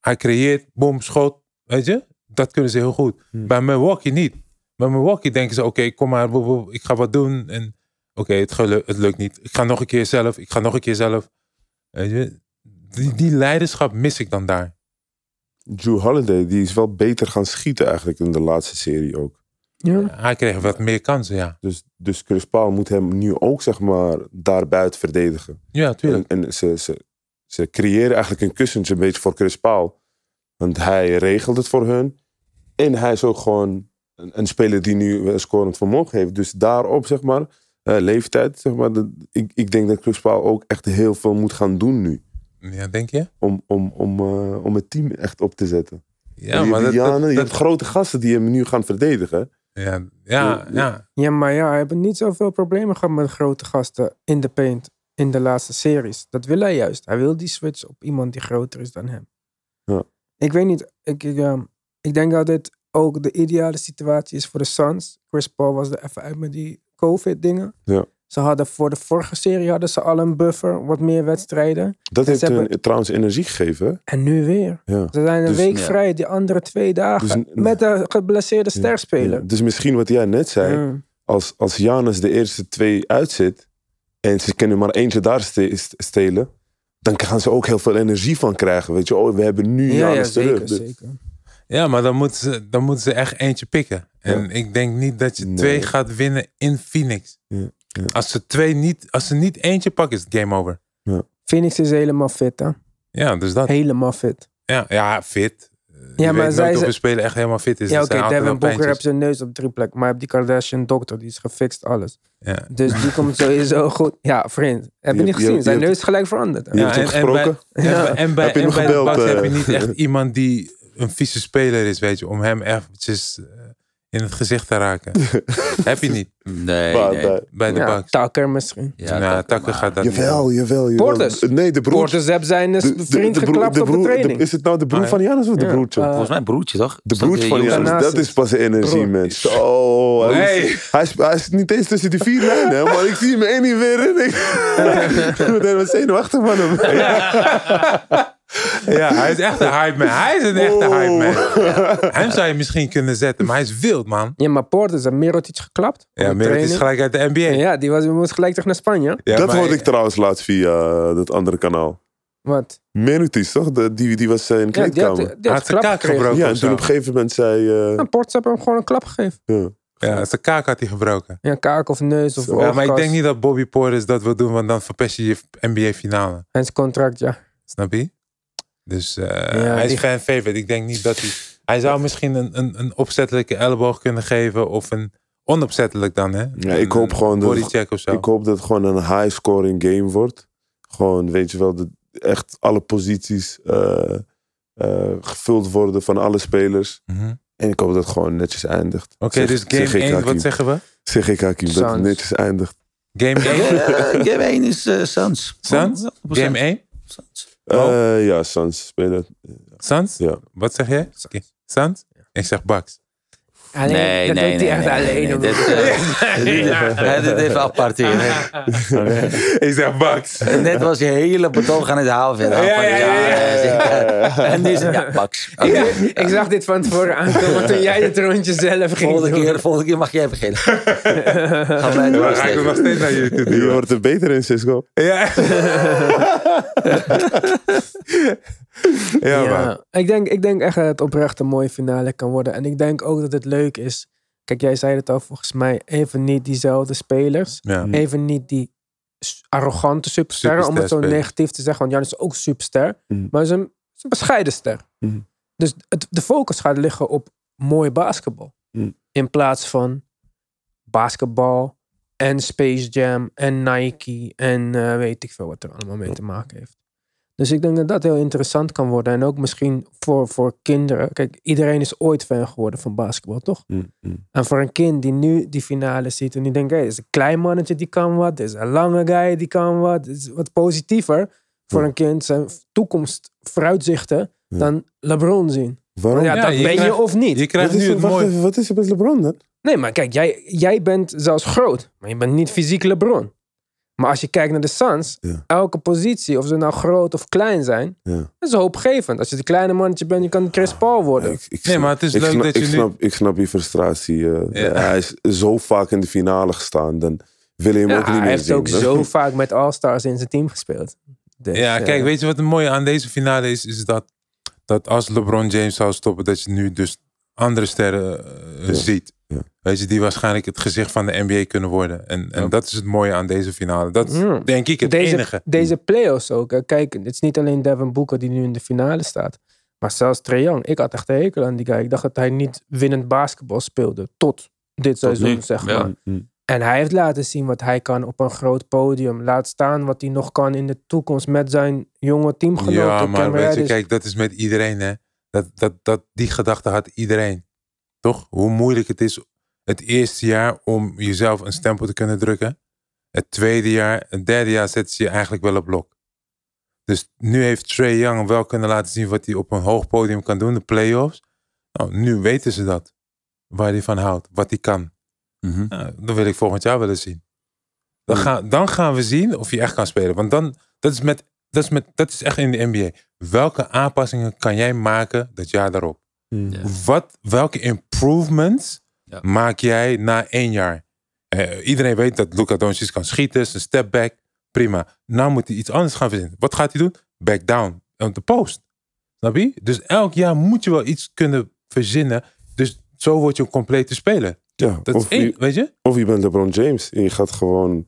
Hij creëert, bom, schot. Weet je? Dat kunnen ze heel goed. Hmm. Bij Milwaukee niet. Bij Milwaukee denken ze, oké, kom maar, woe, woe, ik ga wat doen. En oké, het, gelu- het lukt niet. Ik ga nog een keer zelf. Ik ga nog een keer zelf. Weet je? Die, die leiderschap mis ik dan daar. Drew Holiday, die is wel beter gaan schieten eigenlijk in de laatste serie ook. Ja. Hij kreeg wat meer kansen, ja. Dus, dus Chris Paul moet hem nu ook zeg maar daarbuiten verdedigen. Ja, tuurlijk. En, en ze, ze, ze creëren eigenlijk een kussentje een beetje voor Chris Paul. Want hij regelt het voor hun. En hij is ook gewoon een, een speler die nu een scorend vermogen heeft. Dus daarop, zeg maar, eh, leeftijd, zeg maar. dat- ik, ik denk dat Chris Paul ook echt heel veel moet gaan doen nu. Ja, denk je? Om, om, om, eh, om het team echt op te zetten. Ja, Die maar dat, Indianen, dat, je hebt dat- grote gasten die hem nu gaan verdedigen. ja, ja, ja. ja, maar ja, hij heeft niet zoveel problemen gehad met grote gasten in de paint in de laatste series. Dat wil hij juist. Hij wil die switch op iemand die groter is dan hem. Ja. Ik weet niet. Ik, ik, ehm, ik denk dat dit ook de ideale situatie is voor de Suns. Chris Paul was er even uit met die COVID-dingen. Ja. Ze hadden voor de vorige serie hadden ze al een buffer, wat meer wedstrijden. Dat En heeft ze hun hebben- trouwens energie gegeven. hè? En nu weer. Ja. Ze zijn een Dus- week Ja. vrij, die andere twee dagen. Dus- met de geblesseerde Ja, sterspeler. Mm. Dus misschien wat jij net zei. Ja. als, als Janus de eerste twee uitzit en ze kunnen maar eentje daar ste- st- stelen, dan gaan ze ook heel veel energie van krijgen. Weet je, oh, we hebben nu Ja, Janus ja, terug. zeker, Dus- zeker. Ja, maar dan moeten ze, dan moeten ze echt eentje pikken. En ik denk niet dat je Nee. twee gaat winnen in Phoenix. Ja, ja. Als ze twee niet, als ze niet eentje pakken, is het game over. Phoenix is helemaal fit, hè? Ja, dus dat. Helemaal fit. Ja, ja fit. Ja, je maar weet zij nooit of ze- een speler echt helemaal fit is. ja, Er oké, zijn altijd Devin wel Booker heeft pijntjes. zijn neus op drie plekken. Maar je hebt die Kardashian-dokter, die is gefixt alles. Ja. Dus die komt sowieso goed. Ja, vriend. Heb je niet Je- je- gezien? je Zijn hebt- neus is gelijk veranderd. hè? Je Ja, hebt hem en- en bij- gesproken. Ja. En, en bij, Heb je en hem bij gebeld, de Bucks eh? heb je niet echt iemand die een vieze speler is, weet je. Om hem eventjes eh, in het gezicht te raken. heb je niet Nee, Maar, nee. eh, bij de Ja, Bucks. Tucker misschien. Ja, nou, dat- Takken maar- gaat dat niet. Jawel, jawel, jawel. Porters. Nee, de broer. Porters heb zijn eh, de- de- vriend de broer- geklapt de op broer- de training. de- is het nou de broer Ah, ja. van Janus of de Ja, broertje? eh, Volgens mij broertje, toch? de Is dat broertje van jongste? Janus, daarnaast dat is is- pas energie, Broer. man. Zo, hij, Hey. is, hij, is, hij is niet eens tussen die vier lijnen, hè, maar ik zie hem één niet weer in. Ik ik ben zenuwachtig van hem. Ja, hij is echt een hype man. Hij is een echte hype man. Ja. Hem zou je misschien kunnen zetten, maar hij is wild, man. Ja, maar Porters heeft Mirotic geklapt. op Ja, de Merit is training. gelijk uit de NBA. Ja, Ja, die was, die moest gelijk terug naar Spanje. dat maar- hoorde ik trouwens laatst via eh, dat andere kanaal. Wat? Menutis, toch? De- die, die was eh, in de Ja, die had, kleedkamer. die Ja, had Had zijn klap kaak gekregen. gebroken. en of toen zo. op een gegeven moment zei... eh, Ja, Porters heeft hem gewoon een klap gegeven. Ja, zijn kaak had hij gebroken. Ja, kaak of neus of Ja, maar ik oogkas. denk niet dat Bobby Portis dat wil doen, want dan verpest je je NBA-finale. En zijn contract, ja. Snap je? Dus eh, Ja, hij is die- fan favorite. Ik denk niet dat hij... Hij zou misschien een, een, een opzettelijke elleboog kunnen geven of een onopzettelijk dan, hè? Ja, ik Een- hoop een gewoon dat- Bodycheck of zo. Ik hoop dat het gewoon een high-scoring game wordt. Gewoon, weet je wel, dat echt alle posities eh, eh, gevuld worden van alle spelers. Mhm. En ik hoop dat het gewoon netjes eindigt. Oké, Zeg- dus game zeg ik, 1, Hakim. wat zeggen we? Zeg ik, Hakim, dat het Suns. netjes eindigt. Game 1? Ja, Game 1 is eh, Suns. Suns? Game 1? Suns. Oh. Eh, ja, Sans spelen. Sans? Ja. Wat zeg jij? Sans? Ik zeg Baks. Alleen, Nee, dat nee, doet hij nee, echt nee, alleen. nee, nee, hoor. dit, eh, dit- eh, dit even apart hier. Ik zeg Baks. Net was je hele betoog aan het halen. verder. Ja, ja, ja, ja. En nu is het, ja, Max. eh, Oké. Ik zag dit van tevoren aankomen toen jij het rondje zelf ging Volgende doen. keer, volgende keer mag jij beginnen. Gaan wij door, Dan ga ik Steven. het nog steeds naar jullie toe Je duwen. wordt er beter in, Cisco. Ja. ja, man. Ja. Ik, denk, ik denk echt dat het oprecht een mooie finale kan worden. En ik denk ook dat het leuk is. Kijk, jij zei het al, volgens mij even niet diezelfde spelers. Ja. Even niet die s- arrogante supersterren, om het zo Supersterspelers. negatief te zeggen. Want Jan is ook superster, Mhm. maar is een, is een bescheiden ster. Mhm. Dus het, de focus gaat liggen op mooi basketbal. Mhm. In plaats van basketbal en Space Jam en Nike en eh, weet ik veel wat er allemaal mee te maken heeft. Dus ik denk dat dat heel interessant kan worden. En ook misschien voor, voor kinderen. Kijk, iedereen is ooit fan geworden van basketbal, toch? Mm, En voor een kind die nu die finale ziet en die denkt, hé, dit is een klein mannetje die kan wat, dit is een lange guy die kan wat, dit is wat positiever voor Ja. een kind zijn toekomst, vooruitzichten Ja. dan LeBron zien. Waarom? Want ja, Ja, dat je ben je krijgt- of niet. Je wat, krijgt is nu er, het wacht mooie. even, wat is er met LeBron dan? Nee, maar kijk, jij, jij bent zelfs groot, maar je bent niet fysiek LeBron. Maar als je kijkt naar de Suns, Ja. elke positie, of ze nou groot of klein zijn, Ja. Ah, dat is hoopgevend. Als je een kleine mannetje bent, je kan Chris Paul worden. Ik, ik Nee, maar het is ik leuk snap, dat ik je nu- snap, Ik snap je frustratie. eh. Ja. Hij is zo vaak in de finale gestaan. Dan wil je hem Ja, ook niet hij meer heeft zien. ook Dat- zo vaak met All-Stars in zijn team gespeeld. Dus, Ja, eh, kijk, weet je wat het mooie aan deze finale is? Is dat, dat als LeBron James zou stoppen, dat je nu dus andere sterren eh, Ja. ziet. Ja. Weet je, die waarschijnlijk het gezicht van de NBA kunnen worden. En, en Ja. dat is het mooie aan deze finale. Dat is Mm. denk ik het deze, enige. Deze play-offs ook. hè. Kijk, het is niet alleen Devin Booker die nu in de finale staat. Maar zelfs Trae Young. Ik had echt een hekel aan die guy. Ik dacht dat hij niet winnend basketbal speelde. Tot dit seizoen, nu, zeg ja. maar. En hij heeft laten zien wat hij kan op een groot podium. Laat staan wat hij nog kan in de toekomst met zijn jonge teamgenoten. Ja, Cam maar weet je, Reddish. kijk, dat is met iedereen, hè. Dat, dat, dat, die gedachte had iedereen. Toch? Hoe moeilijk het is het eerste jaar om jezelf een stempel te kunnen drukken. Het tweede jaar, het derde jaar zet ze je eigenlijk wel op blok. Dus nu heeft Trey Young wel kunnen laten zien wat hij op een hoog podium kan doen, de playoffs. Nou, nu weten ze dat. Waar hij van houdt, wat hij kan. Mhm. Nou, dat wil ik volgend jaar willen zien. Dan, gaan dan gaan we zien of je echt kan spelen. Want dan, dat is, met, dat, is met, dat is echt in de NBA. Welke aanpassingen kan jij maken dat jaar daarop? Mm. Ja. Wat, welke improvements Ja. maak jij na één jaar? Eh, iedereen weet dat Luka Doncic kan schieten, zijn step back, prima. Nou moet hij iets anders gaan verzinnen. Wat gaat hij doen? Back down, op de post. Snap je? Dus elk jaar moet je wel iets kunnen verzinnen. Dus zo word je een complete speler. Ja, Dat of, is één, je, weet je? of je bent LeBron James. En je gaat gewoon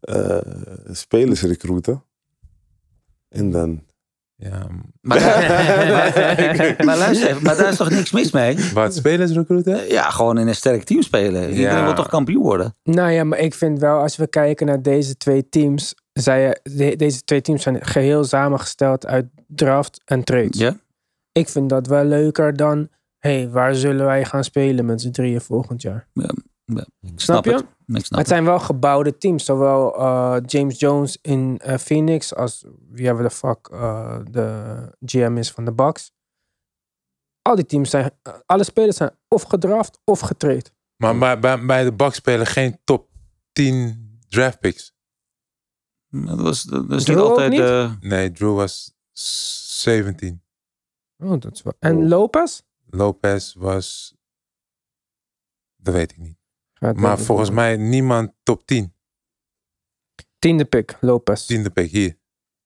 eh, spelers recruiten. En dan... Ja, Maar, maar, maar luister even, maar daar is toch niks mis mee? wat spelers recruiten? Ja, gewoon in een sterk team spelen. Iedereen Ja. wil toch kampioen worden? Nou ja, maar ik vind wel, als we kijken naar deze twee teams. Zij, de- deze twee teams zijn geheel samengesteld uit draft en trades. Ja? ik vind dat wel leuker dan. Hé, hey, waar zullen wij gaan spelen met z'n drieën volgend Nou, jaar? Ik Snap snap, je? het. Ik snap het het. zijn wel gebouwde teams. Zowel eh, James Jones in eh, Phoenix als wie hebben de fuck eh, de GM is van de Bucks. Al die teams zijn, eh, alle spelers zijn of gedraft of getraind. Maar bij, bij, bij de Bucks spelen geen top 10 draft picks. Dat was, dat is Drew niet ook altijd... niet? eh, Nee, Drew was s- 17. Oh, dat is wel. En Oh. Lopez? Lopez was. Dat weet ik niet. Gaat Maar wel- volgens mij niemand top 10. Tiende pick, Lopez. Tiende pick hier.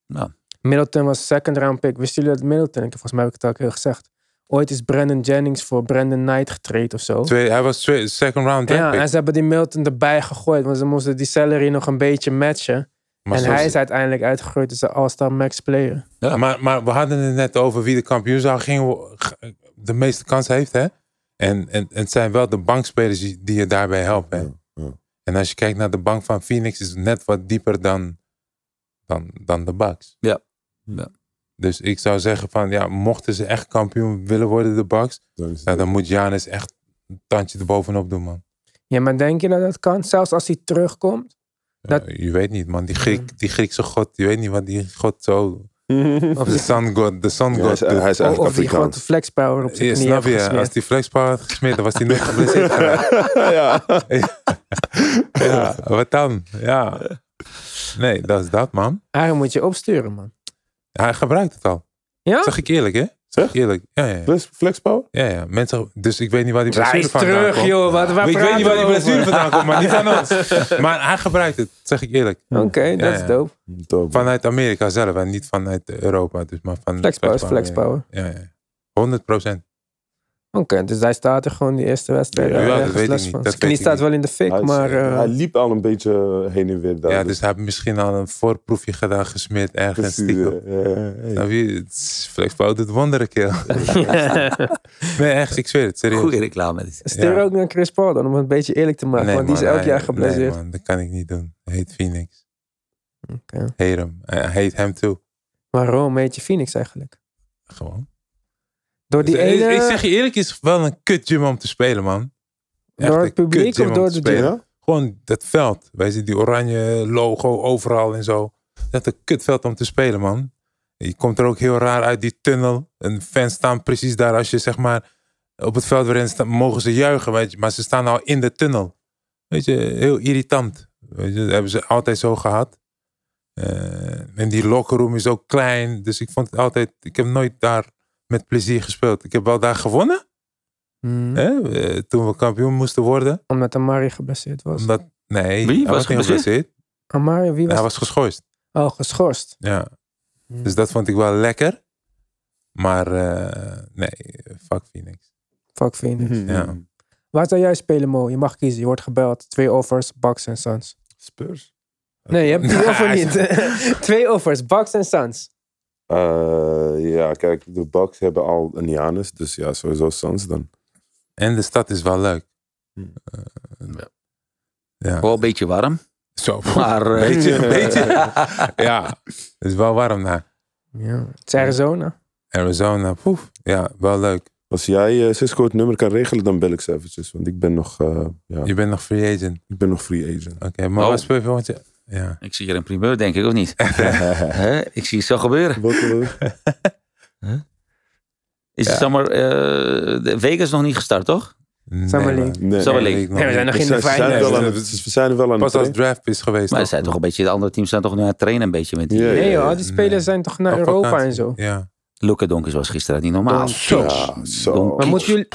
nou. Middleton was second round pick. Wisten jullie dat Middleton, ik- volgens mij heb ik het al een keer gezegd. Ooit is Brandon Jennings voor Brandon Knight getraind of zo. Twee, hij was twee, second round draft Oh. Ja, pick. en ze hebben die Milton erbij gegooid, want ze moesten die salary nog een beetje matchen. Maar, en zo hij is is uiteindelijk uitgegroeid als een All-Star Max player. het. maar, maar we hadden het net over wie de kampioen zou gingen wo- g- de meeste kans heeft. Hè? En, en, en het zijn wel de bankspelers die, die je daarbij helpen. hè. En als je kijkt naar de bank van Phoenix, is het net wat dieper dan, dan, dan de Bucks. Ja. Ja. Dus ik zou zeggen van, ja, mochten ze echt kampioen willen worden, de Bucks, Dan is het- nou, dan moet Giannis echt een tandje erbovenop doen, man. Ja, maar denk je dat dat kan? Zelfs als hij terugkomt? Ja, Dat- je weet niet, man. Die, Griek, die Griekse god, je weet niet wat die god zo Of de Sun God. De Sun Ja, hij, God. is, hij is Of die eigenlijk grote Afrikaans. flexpower op zijn Ja, knieën Eh, snap heeft je? Als gesmeerd. die flexpower had gesmeerd, dan was hij nooit geblesseerd geraakt. ja. Ja, wat dan? Ja. Nee, dat is dat, man. Aaron moet je opsturen, man. Hij gebruikt het al. Ja? Zeg ik eerlijk, hè? Zeg ik eerlijk. Ja, ja, ja. Flex- Flexpower? ja, ja. Mensen, dus ik weet niet waar die Hij blessure is vandaan terug, komt. joh. Wat, waar ik weet praten niet waar die we blessure over? vandaan komt, maar niet van ons. Maar hij gebruikt het, zeg ik eerlijk. Oké, dat is ja. dope. Top. Vanuit Amerika zelf en niet vanuit Europa. Dus maar van Flexpower is flexpower. Ja, ja. ja. 100 procent. Oké, dus hij staat er gewoon die eerste wedstrijd. Ja, daar ja, ergens dat weet ik last niet, van. dat Zijn knie weet ik staat wel in de Hij, fik, is- maar... eh, hij liep al een beetje heen en weer daar. Ja, dus hij heeft misschien al een voorproefje gedaan, gesmeerd ergens. Precies, stiekem. dus- ja, ja, ja. Hey. Nou, wie, het is- flexpower doet wonderen, kerel. Nee, echt, ik zweer het, serieus. Goede reclame. dit. Stuur Ja. ook naar Chris Paul dan, om het een beetje eerlijk te maken. Nee, want die is man, elk hij- jaar geblesseerd. Nee, man, dat kan ik niet doen. Hij Heet Phoenix. Oké. Heet hem. Eh, Heet hem toe. Waarom heet je Phoenix eigenlijk? Gewoon. Door die Dus, eh, ene... Ik zeg je eerlijk, is wel een kut gym om te spelen, man. Echt Door een het publiek kut gym of om door te de spelen. Ja? Gewoon dat veld. Wij zien die oranje logo overal en zo. Dat is een kutveld om te spelen, man. Je komt er ook heel raar uit die tunnel. En fans staan precies daar als je zeg maar op het veld waarin staan, mogen ze juichen, weet je, maar ze staan al in de tunnel. Weet je, heel irritant. Weet je, dat hebben ze altijd zo gehad. Eh, en die lockerroom is ook klein, dus ik vond het altijd. Ik heb nooit daar met plezier gespeeld. Ik heb wel daar gewonnen, Hm. Hmm, hè, eh, toen we kampioen moesten worden. Omdat Amari geblesseerd was. Omdat, nee, Wie hij was was niet geblesseerd? geblesseerd. Amari, wie was... Hij was geschorst. Oh, geschorst. Ja. Hmm. Dus dat vond ik wel lekker. Maar eh, nee, fuck Phoenix. Fuck Mhm. Phoenix. Ja. Hmm. Waar zou jij spelen, Mo? Je mag kiezen. Je wordt gebeld. Twee offers, Bucks en Suns. Spurs. Nee, je hebt die Nee, offer hij niet. Twee offers, Bucks en Suns. Eh, ja, kijk, de Bucks hebben al een Giannis, dus ja, sowieso Suns dan. En de stad is wel leuk. Hmm. Eh, Ja. Oh, ja. Wel een beetje warm, Zo. maar... eh, Beetje, een beetje. Ja, het is wel warm daar. Ja. Het is Arizona. Arizona, poef. Ja, wel leuk. Als jij eh, Cisco het nummer kan regelen, dan bel ik ze eventjes. Want ik ben nog, eh, ja, Je bent nog free agent. ik ben nog free agent. Oké, maar Oh. wat speel je volgend jaar? Ja. Ik zie hier een primeur, denk ik, of niet? Hè? Ik zie het zo gebeuren. Wat, eh, Is Ja. het zomaar... eh, de Vegas is nog niet gestart, toch? Nee, Summer League. man. nee. Summer League. League nog Nee, we zijn niet. nog We in de zijn, ze zijn er finals. wel aan, het- ze zijn er wel aan Pas het als trainen. draft is geweest. Maar het toch? zijn toch een beetje... De andere teams zijn toch nu aan het trainen een beetje met die... Ja, ja, Nee, joh. Al die Nee. spelers zijn toch naar Op Europa vakantie. en zo. Ja. Luka Doncic was gisteren niet normaal. Ja, zo. Maar moeten jullie...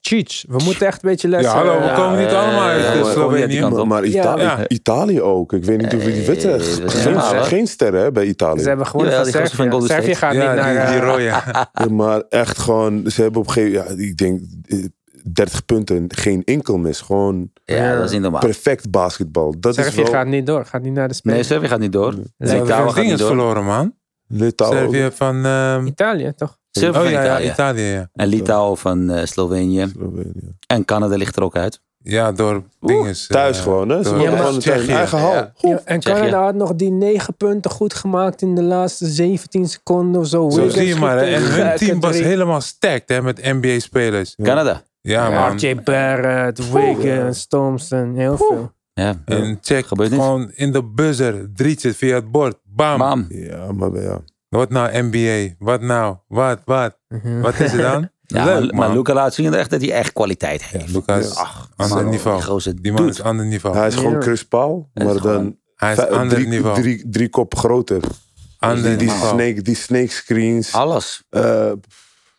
Cheats. We moeten echt een beetje les... Ja, hallo, we eh, komen niet eh, allemaal uit ja, we komen niet eh, uit die Slovenië. kant Maar, op. maar Italië, Ja. Italië ook. Ik weet niet of ik die wedstrijd... Eh, dat is Geen, normaal, hè? geen sterren hè, bij Italië. Ze hebben gewonnen Jawel, van die gasten van Servië. Servië Golden gaat Ja, niet naar... die, die eh, rode. Ja, maar echt gewoon, ze hebben op een gegeven moment, ja, ik denk eh, 30 punten, geen enkel mis. Gewoon Ja, dat is niet normaal. perfect basketbal. Dat is Servië wel gaat niet door. Gaat niet naar de Nee, Spelen. Servië gaat niet door. Ze Lekker. Litouwen hebben gaat dingen niet door. verloren, man. Litouwen. Servië van... ehm, Italië, toch? Servië oh van ja, ja, Italië. Italië, ja. En Litouwen van eh, Slovenië. Slovenië. En Canada ligt er ook uit. Ja, door dinges. Thuis eh, gewoon, hè? Ze door- hebben Ja, gewoon maar- het eigen- Tsjechië. eigen hal. Ja. Goed. Ja, en Tsjechië. Canada had nog die 9 punten goed gemaakt in de laatste 17 seconden of zo. Zo Wiggins zie je maar. hè. schiet En een hun gekke team was drie. helemaal stacked hè, met NBA-spelers. Canada. Ja, Ja, man. RJ Barrett, Wiggins, Thompson, heel veel. Ja. En check Gebeurt niet. gewoon in de buzzer. Drietje via het bord. Bam. Mam. Ja, maar ja. Wat nou NBA? Wat nou? Wat, wat? Mhm. Wat is het dan? Ja, Leuk, maar, maar man. Luca laat zien echt dat hij echt kwaliteit Ja, heeft. Lucas, Ach, ander man, niveau. Die gozer die man doet. is ander niveau. Hij is Ja. gewoon Chris Paul, Hij is maar gewoon- dan Hij is vij- ander drie, niveau. drie, drie kop groter. Die, Ander die, niveau. snake, die snake screens. Alles. eh,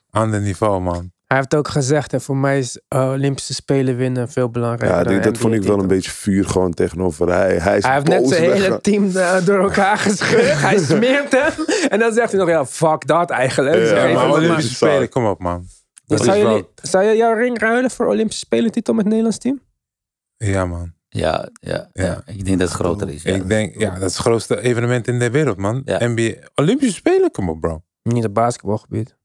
Ander niveau, man. Hij heeft ook gezegd, hè, voor mij is eh, Olympische Spelen winnen veel belangrijker. ja, dan die- dat NBA vond ik wel een titel. beetje vuur gewoon tegenover. Hij, hij is Hij heeft net boos zijn hele weggegaan. team eh, door elkaar gescheurd. Hij smeert hem. En dan zegt hij nog, ja, fuck dat eigenlijk. Ja, Zeg Ja, even maar dat maar. Olympische Spelen, kom op, man. Dat zou, is jullie, wel- zou je jouw ring ruilen voor Olympische Spelentitel met het Nederlands team? Ja, man. Ja, ja, ja. Ja. ik denk dat het groter is. ja. Ik denk, ja, dat is het grootste evenement in de wereld, man. Ja. NBA, Olympische Spelen, kom op, bro. Niet op basketbalgebied.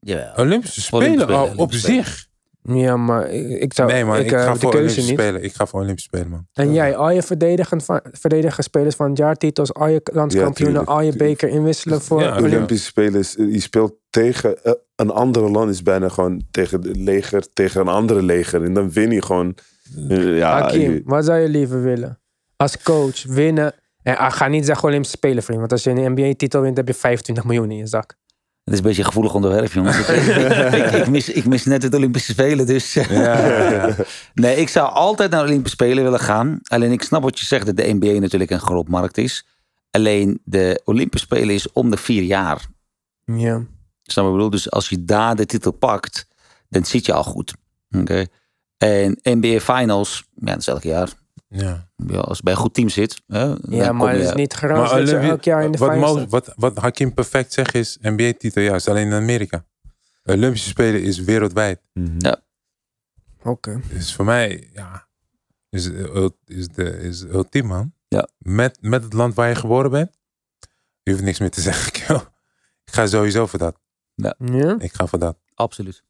Jawel. Olympische Spelen, Olympische Spelen, al op Olympische Spelen. zich. Ja, maar ik, ik zou Nee, man, ik, eh, ga heb de voor keuze Olympische niet. Spelen. Ik ga voor Olympische Spelen, man. En jij, al je verdedigend van, verdedigende spelers van het jaar, titels, al je landskampioenen, tuurlijk. al je beker inwisselen voor... Ja. De Olympische Spelen, is- je speelt tegen eh, een andere land, is bijna gewoon tegen het leger, tegen een andere leger. En dan win je gewoon. eh, ja, Hakim, je- wat zou je liever willen? Als coach, winnen Ja, ga niet zeggen Olympische Spelen, vriend. Want als je een NBA-titel wint, heb je 25 miljoen in je zak. Het is een beetje een gevoelig onderwerp, jongens. ik, ik, ik mis, ik mis net het Olympische Spelen, dus... Ja, ja, ja. Nee, ik zou altijd naar de Olympische Spelen willen gaan. Alleen ik snap wat je zegt, dat de NBA natuurlijk een groot markt is. Alleen de Olympische Spelen is om de vier jaar. Ja. Snap je wat ik bedoel? Dus als je daar de titel pakt, dan zit je al goed. Oké. En NBA Finals, ja, dat is elk jaar. Ja. Ja, als je bij een goed team zit, hè, Ja, dan maar kom het je. is niet garantie dat ze Olympi- elk jaar in de wat, finals Mo- staan. wat, wat Hakim perfect zegt is NBA-titel juist, alleen in Amerika. Olympische Spelen is wereldwijd. Oké. Dus voor mij, ja, is, ul- is, de, is ultiem, man. Ja. Met, met het land waar je geboren bent, je hoeft niks meer te zeggen, Kjell. Ik ga sowieso voor dat. Ja? Ik ga voor dat. Absoluut.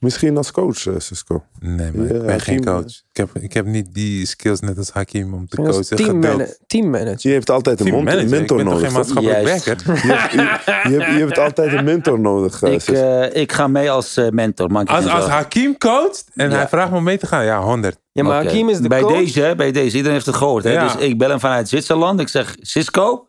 Misschien als coach, eh, Cisco. Nee, maar Ja, ik ben geen Hakim, eh. coach. Ik heb, ik heb niet die skills net als Hakim om te Misschien als coachen. teammana- teammanager. Je hebt altijd een Team mond- manager. Ik mentor ben toch nodig. geen toch? maatschappelijk Juist. werker? Je, hebt- je- je hebt, je hebt altijd een mentor nodig, eh, Ik, Cisco. eh, ik ga mee als eh, mentor. maak je Als, geen als zorgen. Hakim coacht en Ja. hij vraagt me om mee te gaan, ja, 100. Ja, maar Oké. Hakim is de bij coach. Deze, hè, bij deze, iedereen heeft het gehoord. Hè? Ja. Dus ik bel hem vanuit Zwitserland. Ik zeg, Cisco,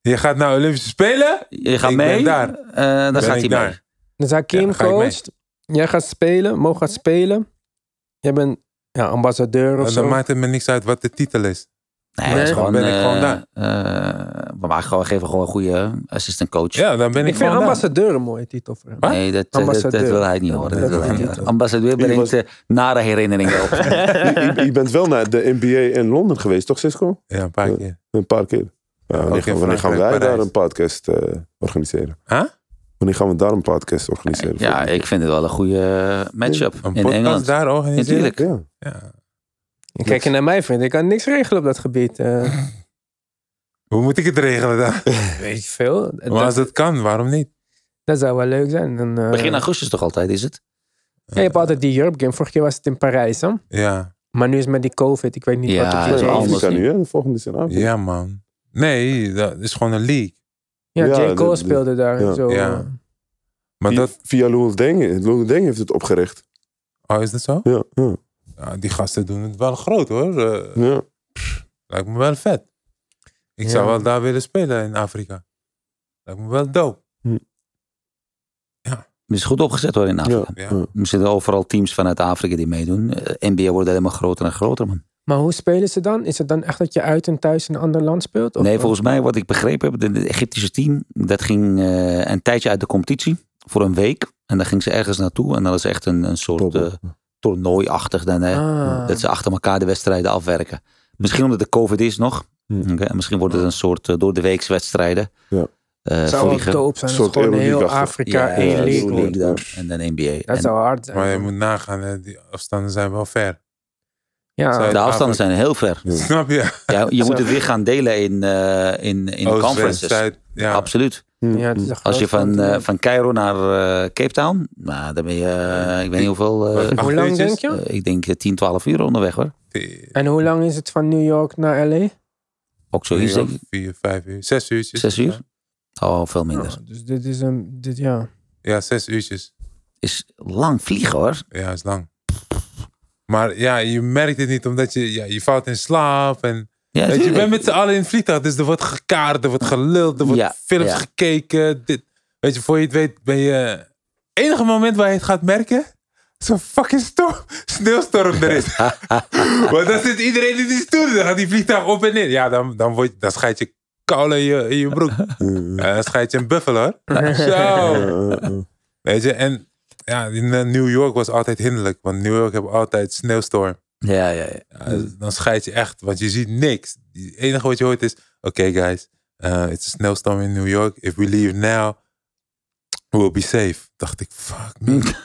Je gaat naar Olympische Spelen? je gaat Ik ben mee. daar. Eh, dan Ben gaat ik hij daar. mee. Dus Hakim Ja, ga ik mee. coacht. Jij gaat spelen. Mo gaat spelen. Jij bent ja, ambassadeur of zo. En Nou, dan maakt het me niks uit wat de titel is. Nee, Nee. dat is gewoon, Dan ben ik eh, gewoon daar. eh, we maken gewoon, geven gewoon een goede assistant coach. Ja, dan ben ik, Ik vind gewoon daar. ambassadeur een mooie titel voor hem. Nee, dat, eh, dat, dat Ambassadeur. wil hij niet horen. Dat Dat wil wil hij hij niet niet horen. Ambassadeur Die brengt eh, nare herinneringen op. eh, Je, je- je bent wel naar de NBA in Londen geweest, toch, Cisco? Ja, een paar keer. Een paar keer. Ja, Ook wanneer, in gaan, wanneer gaan Frankrijk, wij daar Parijs. een podcast eh, organiseren? Huh? Wanneer gaan we daar een podcast organiseren? ja, ik vind het wel een goede eh, matchup Een in podcast Engeland. daar organiseren? Natuurlijk. Ja. Ja. En Kijk je naar mij, vriend. Ik kan niks regelen op dat gebied. eh. Hoe moet ik het regelen dan? weet je veel? Maar als Dat, het kan, waarom niet? dat zou wel leuk zijn. Dan, eh, Begin augustus toch altijd, is het? ja, je hebt altijd die Europe Game. Vorige keer was het in Parijs, hè? Ja, Maar nu is met die COVID. Ik weet niet Ja, wat dat het is is. Ja, wel anders Afrika niet. nu, hè? De volgende is in Afrika. ja man. Nee, dat is gewoon een league. Ja, Ja, J. Cole dat- speelde daar. ja. zo, Ja. eh. Maar Via- dat, Via Lul Deng. Lul Deng heeft het opgericht. oh, is dat zo? Ja, ja, Ja, die gasten doen het wel groot hoor. Eh, ja. lijkt me wel vet. Ik Ja. zou wel daar willen spelen in Afrika. Lijkt me wel dope. Het is goed opgezet hoor in Afrika. ja, Ja. ja. Er zitten overal teams vanuit Afrika die meedoen. Eh, NBA wordt helemaal groter en groter, man. Maar hoe spelen ze dan? Is het dan echt dat je uit en thuis in een ander land speelt? Of- Nee, volgens mij, wat ik begrepen heb, de- de Egyptische team, dat ging eh, een tijdje uit de competitie voor een week. En dan ging ze ergens naartoe en dat is echt een, een soort Dobbel. eh, toernooiachtig. Dan, eh, Ah. Dat ze achter elkaar de wedstrijden afwerken. Misschien omdat de COVID is nog. Hmm. Oké, en Misschien wordt het een soort eh, door de weeks wedstrijden. Ja. Eh, zou wel vliegen. dope zijn. Een als soort gewoon heel Euroleague-achtig. Afrika Ja, één ja, league. Euroleague wordt. League. dan. En dan NBA. Dat En zou hard zijn. Maar je moet nagaan, hè, die afstanden zijn wel ver. ja. zou- de afstanden zijn heel ver. Snap je? Ja, je moet het weer gaan delen in, eh, in, in Oost, conferences. west, zuid, ja. Absoluut. Hm. ja, het is een Als je groot van, eh, continent. van Cairo naar eh, Cape Town, nou, dan ben je, eh, ik weet niet hoeveel, eh, Acht Hoe lang uurtjes? denk je? eh, ik denk eh, 10, 12 uur onderweg hoor. Die- En hoe lang is het van New York naar L.A.? Ook zoiets Ja, denk ik. Vier, vijf uur. Zes uurtjes. Zes uur? Oh, veel minder. Nou, dus dit is een... Dit, ja. Ja, zes uurtjes. Is lang vliegen hoor. Ja, is lang. Maar ja, je merkt het niet omdat je, ja, je valt in slaap. En, Ja, weet je, je tuurlijk. bent met z'n allen in het vliegtuig. Dus er wordt gekaard, er wordt geluld, er wordt Ja, films ja. gekeken. Dit. Weet je, voor je het weet ben je... Enige moment waar je het gaat merken... Zo'n fucking storm, sneeuwstorm er is. Want dan zit iedereen in die stoel. Dan gaat die vliegtuig op en neer. Ja, dan, dan, word je, dan schijt je koude in je, in je broek. Ja, dan schijt je een buffel hoor. Zo. Ja, ja, ja. Weet je, en ja, in eh, New York was altijd hinderlijk. Want New York heeft altijd sneeuwstorm. ja, ja, ja. Ja, dus dan scheid je echt, want je ziet niks. Het enige wat je hoort is, oké guys, eh, it's a snowstorm in New York. If we leave now, we'll be safe. Dacht ik, fuck me.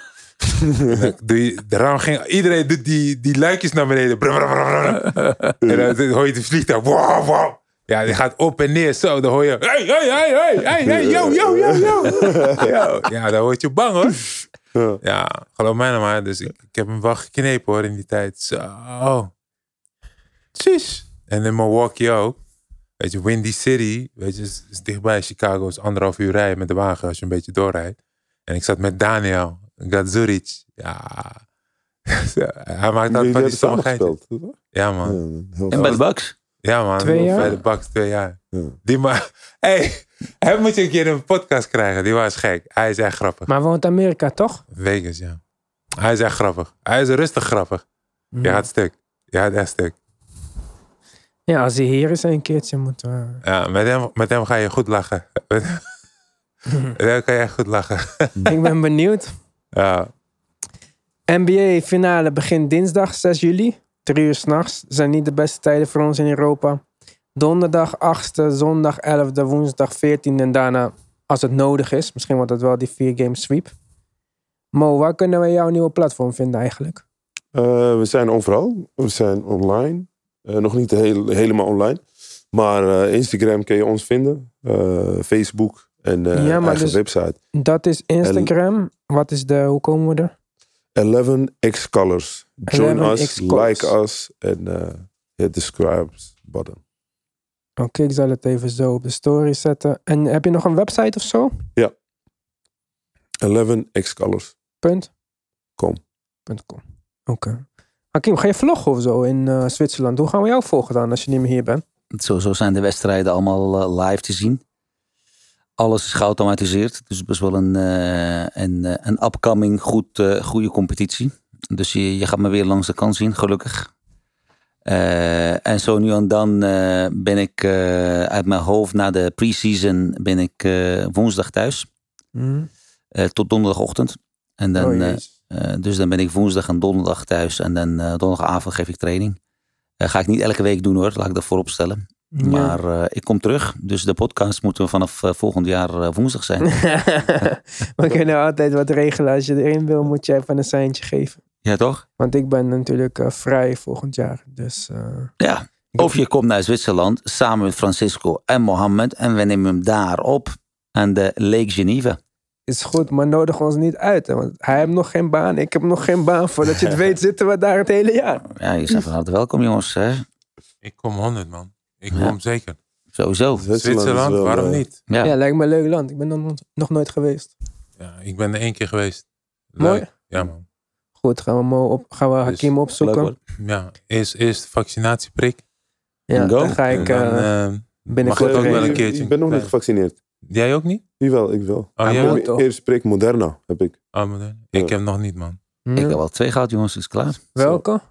Dan doe je- de raam ging, iedereen doet die, die luikjes naar beneden. Brum, brum, brum, brum. En dan hoor je de vliegtuig. Wow, wow. Ja, die gaat op en neer. Zo, dan hoor je, hey, hey, hey, hey, hey, hey, yo, yo, yo, yo. Yo. Ja, dan word je bang hoor. Ja. Ja, geloof mij nou maar. Dus ik, ik heb hem wel geknepen hoor in die tijd. Zo. Sis. En in Milwaukee ook. Weet je, Windy City, weet je, is, is dichtbij Chicago. is anderhalf uur rijden met de wagen als je een beetje doorrijdt. En ik zat met Daniel Gadzuric. Ja. Hij maakt Jullie altijd van die hebben samen sommigheid. gespeeld. Ja man. Ja, heel En bij de Bucks. Ja, man. Twee jaar? Bij de Bucks, twee jaar. Ja. Die man... Hey, hem moet je een keer in een podcast krijgen. Die was gek. Hij is echt grappig. Maar hij woont in Amerika, toch? Vegas, ja. Hij is echt grappig. Hij is rustig grappig. Mhm. Je gaat stuk. Je gaat echt stuk. Ja, als hij hier is een keertje moet... eh, Ja, met hem, met hem ga je goed lachen. Met Mhm. met hem kan je echt goed lachen. ik ben benieuwd. Ja, NBA finale begint dinsdag 6 juli. 3 uur s'nachts. Zijn niet de beste tijden voor ons in Europa. Donderdag 8e, zondag 11e, woensdag 14e en daarna, als het nodig is, misschien wordt dat wel die 4-game sweep. Mo, waar kunnen we jouw nieuwe platform vinden eigenlijk? Eh, we zijn overal. We zijn online. Eh, nog niet heel, helemaal online. Maar eh, Instagram kun je ons vinden. Eh, Facebook en eh Ja, maar eigen dus- website. Dat is Instagram. Wat is de, hoe komen we er? 11x Colors. Join 11X us, Colors. like us en eh hit the subscribe button. Oké, Oh, ik zal het even zo op de story zetten. En heb je nog een website of zo? 11x Colors. Punt? Com. Punt com. Oké. Hakim, ga je vloggen of zo in eh, Zwitserland? Hoe gaan we jou volgen dan als je niet meer hier bent? Sowieso zijn de wedstrijden allemaal eh, live te zien. Alles is geautomatiseerd. Dus best wel een, eh, een, eh, een upcoming goed, eh, goede competitie. Dus je, je gaat me weer langs de kant zien, gelukkig. Eh, en zo nu en dan eh, ben ik eh, uit mijn hoofd na de pre-season ben ik eh, woensdag thuis. eh, tot donderdagochtend. En dan, Oh, eh, jezus. eh, dus dan ben ik woensdag en donderdag thuis. En dan eh, donderdagavond geef ik training. Eh, ga ik niet elke week doen hoor, laat ik dat voorop stellen. Ja. Maar eh, ik kom terug. Dus de podcast moeten we vanaf eh, volgend jaar eh, woensdag zijn. we kunnen altijd wat regelen. Als je erin wil, moet je even een seintje geven. ja, toch? Want ik ben natuurlijk eh, vrij volgend jaar. Dus eh, Ja. Of je komt naar Zwitserland samen met Francisco en Mohammed. En we nemen hem daar op aan de Lake Geneva. is goed, maar nodig ons niet uit. hè, Want hij heeft nog geen baan, ik heb nog geen baan. Voordat je het weet, zitten we daar het hele jaar. Ja, je zijn van harte welkom jongens. Hè? ik kom 100, man. Ik Ja. kom zeker. Sowieso. is Zwitserland, wel, waarom eh, niet? Ja. Ja. lijkt me een leuk land. Ik ben er nog, nog nooit geweest. Ja, ik ben er één keer geweest. Leuk. Mooi. Ja, man. Goed, gaan we, Mo op, gaan we Hakim Dus Leuk, opzoeken. hoor. Ja, eerst, eerst vaccinatieprik. ja, Go. dan ga en ik dan, eh, eh, binnenkort mag het ook weer wel een even- keer. keertje. Ik ben nog niet Nee. gevaccineerd. jij ook niet? Jawel, ik wel. Oh, Ah, jij mooi. ook? toch? Eerst prik Moderna heb ik. Oh, maar dan- ik Ja. heb nog niet, man. Hm, Ik heb al twee gehad jongens, is klaar. Welke? Oké.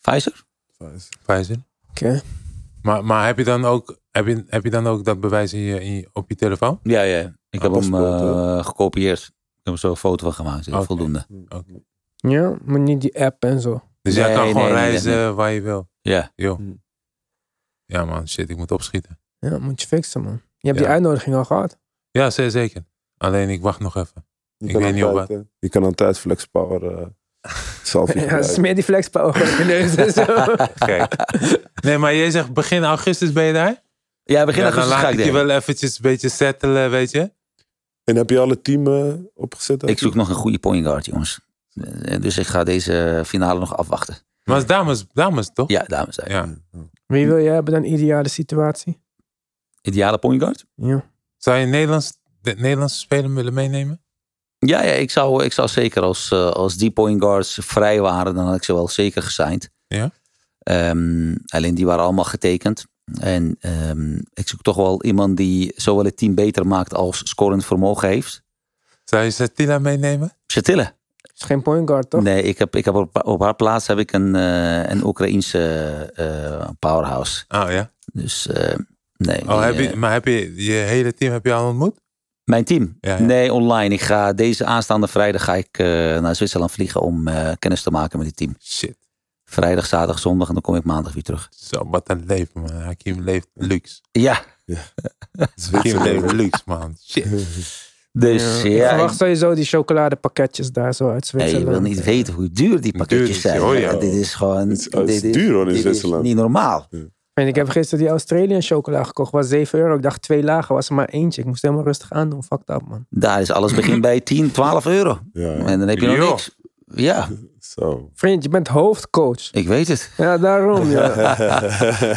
Pfizer? Pfizer. Maar, maar heb, je dan ook, heb, je, heb je dan ook dat bewijs in je, in je- op je telefoon? Ja, ja. Ik heb hem paspoort, eh, gekopieerd. Ik heb er zo een foto van gemaakt. Dat is Oké. Voldoende. Hm. Ja, maar niet die app en zo. Dus jij Nee, kan gewoon nee, nee, reizen nee, nee. waar je wil. Ja. Yo. Hm. Ja, man, shit, ik moet opschieten. Ja, moet je fixen, man. Je hebt Ja. die uitnodiging al gehad. Ja, zeer zeker. Alleen ik wacht nog even. Je Ik kan weet niet altijd, eh, Je kan altijd flexpower eh selfie Ja, gebruiken. smeer die flexpower op je neus en zo. Kijk. Nee, maar jij zegt begin augustus ben je daar? Ja, begin Ja, dan augustus dus ga laat ik ik je denken. wel eventjes een beetje settelen, weet je? En heb je alle team eh, opgezet? Ik zoek nog een goede point guard, jongens. Eh, Dus ik ga deze finale nog afwachten. Maar als dames, dames toch? Ja, dames en heren. Ja. Wie wil jij hebben dan ideale situatie? Ideale point guard? Ja. Zou je een Nederlands, de Nederlandse speler willen meenemen? Ja, ja ik, zou, ik zou zeker als, eh, als die point guards vrij waren, dan had ik ze wel zeker gesigned. Ja. Ehm, alleen die waren allemaal getekend. En ehm, ik zoek toch wel iemand die zowel het team beter maakt als scorend vermogen heeft. Zou je Satila meenemen? Chatille. Is geen point guard, toch? Nee, ik heb, ik heb op, op haar plaats heb ik een, eh, een Oekraïense eh, powerhouse. Oh ja. Dus eh, nee. die, Oh, heb eh, je, maar heb je je hele team heb je al ontmoet? mijn team? Ja, ja. Nee, online. Ik ga deze aanstaande vrijdag ga ik eh, naar Zwitserland vliegen om eh, kennis te maken met het team. Shit. Vrijdag, zaterdag, zondag en dan kom ik maandag weer terug. Zo, wat een leven, man. Hakim leeft luxe. Ja, Hakim leeft luxe, man. Shit. dus ja. ik ik- verwacht sowieso die chocoladepakketjes daar zo uit Nee, je Zwitserland. wil niet weten hoe duur die pakketjes is- zijn. oh ja. Ja, dit is gewoon. Het is- het is dit duur, hoor, in dit is Zwitserland. Niet normaal. En ik heb gisteren die Australian chocola gekocht. Was 7 euro. Ik dacht twee lagen. Was er maar eentje. Ik moest helemaal rustig aandoen. Fuck dat, man. Daar is alles begin bij 10, 12 euro. Ja, En dan heb je nog Joh. niks. Ja, zo. Vriend, je bent hoofdcoach. ik weet het. Ja, daarom. Ja.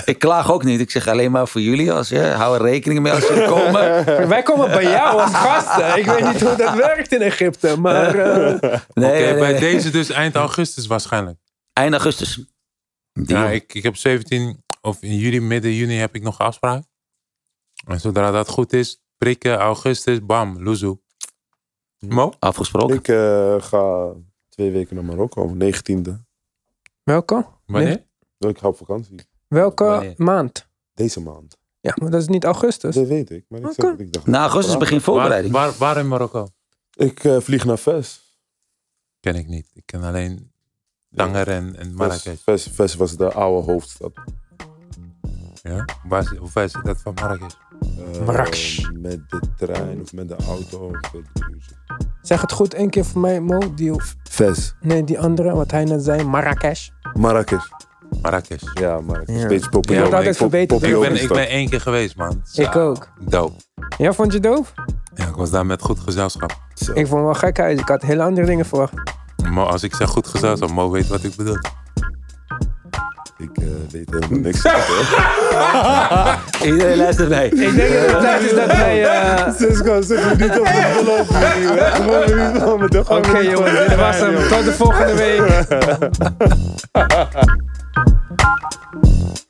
Ik klaag ook niet. Ik zeg alleen maar voor jullie. Als, ja, hou er rekening mee als jullie komen. Wij komen bij jou als gasten. Ik weet niet hoe dat werkt in Egypte. Maar eh, Nee, Oké, nee, nee, bij nee. deze dus eind augustus waarschijnlijk. Eind augustus. Deal. Ja, ik, ik heb 17 of in juli, midden juni heb ik nog een afspraak. En zodra dat goed is, prikken, augustus, bam, Luzu. Mo? Afgesproken. Ik eh, ga twee weken naar Marokko, 19e. Welke? Wanneer? Ik ga op vakantie. Welke Nee. maand? Deze maand. Ja, maar dat is niet augustus. Dat weet ik. Maar ik, zeg- Oké. Nou, ik dacht, Na augustus begin Waar, voorbereiding. waar, waar in Marokko? Ik eh, vlieg naar Ves. Ken ik niet. Ik ken alleen Tanger en, en Ves, Marrakesh. Ves, Ves was de oude hoofdstad. Ja? Waar, is- of waar is dat van Marrakesh? Eh, Marrakesh. Met de trein of met de auto. of met de uurtje. Zeg het goed één keer voor mij, Mo. Die, Ves. nee, die andere, wat hij net zei, Marrakesh. Marrakesh. Marrakesh. Ja, Marrakesh. Ja. Steeds Je populair. wordt altijd Pop- verbeterd. Ik populair ben, ik stad. ben één keer geweest, man. Ik ook. Doop. Ja, vond je doof? Ja, ik was daar met goed gezelschap. Zo. Ik vond wel gek uit. Ik had hele andere dingen verwacht. Mo, als ik zeg goed gezelschap, Mo weet wat ik bedoel. Ik eh, weet helemaal niks. Hoor. Iedereen luistert mee. Ik denk dat het tijd is dat wij... eh, Cisco, zit me niet op de envelop. Oké jongens, dit was hem. Tot de volgende week.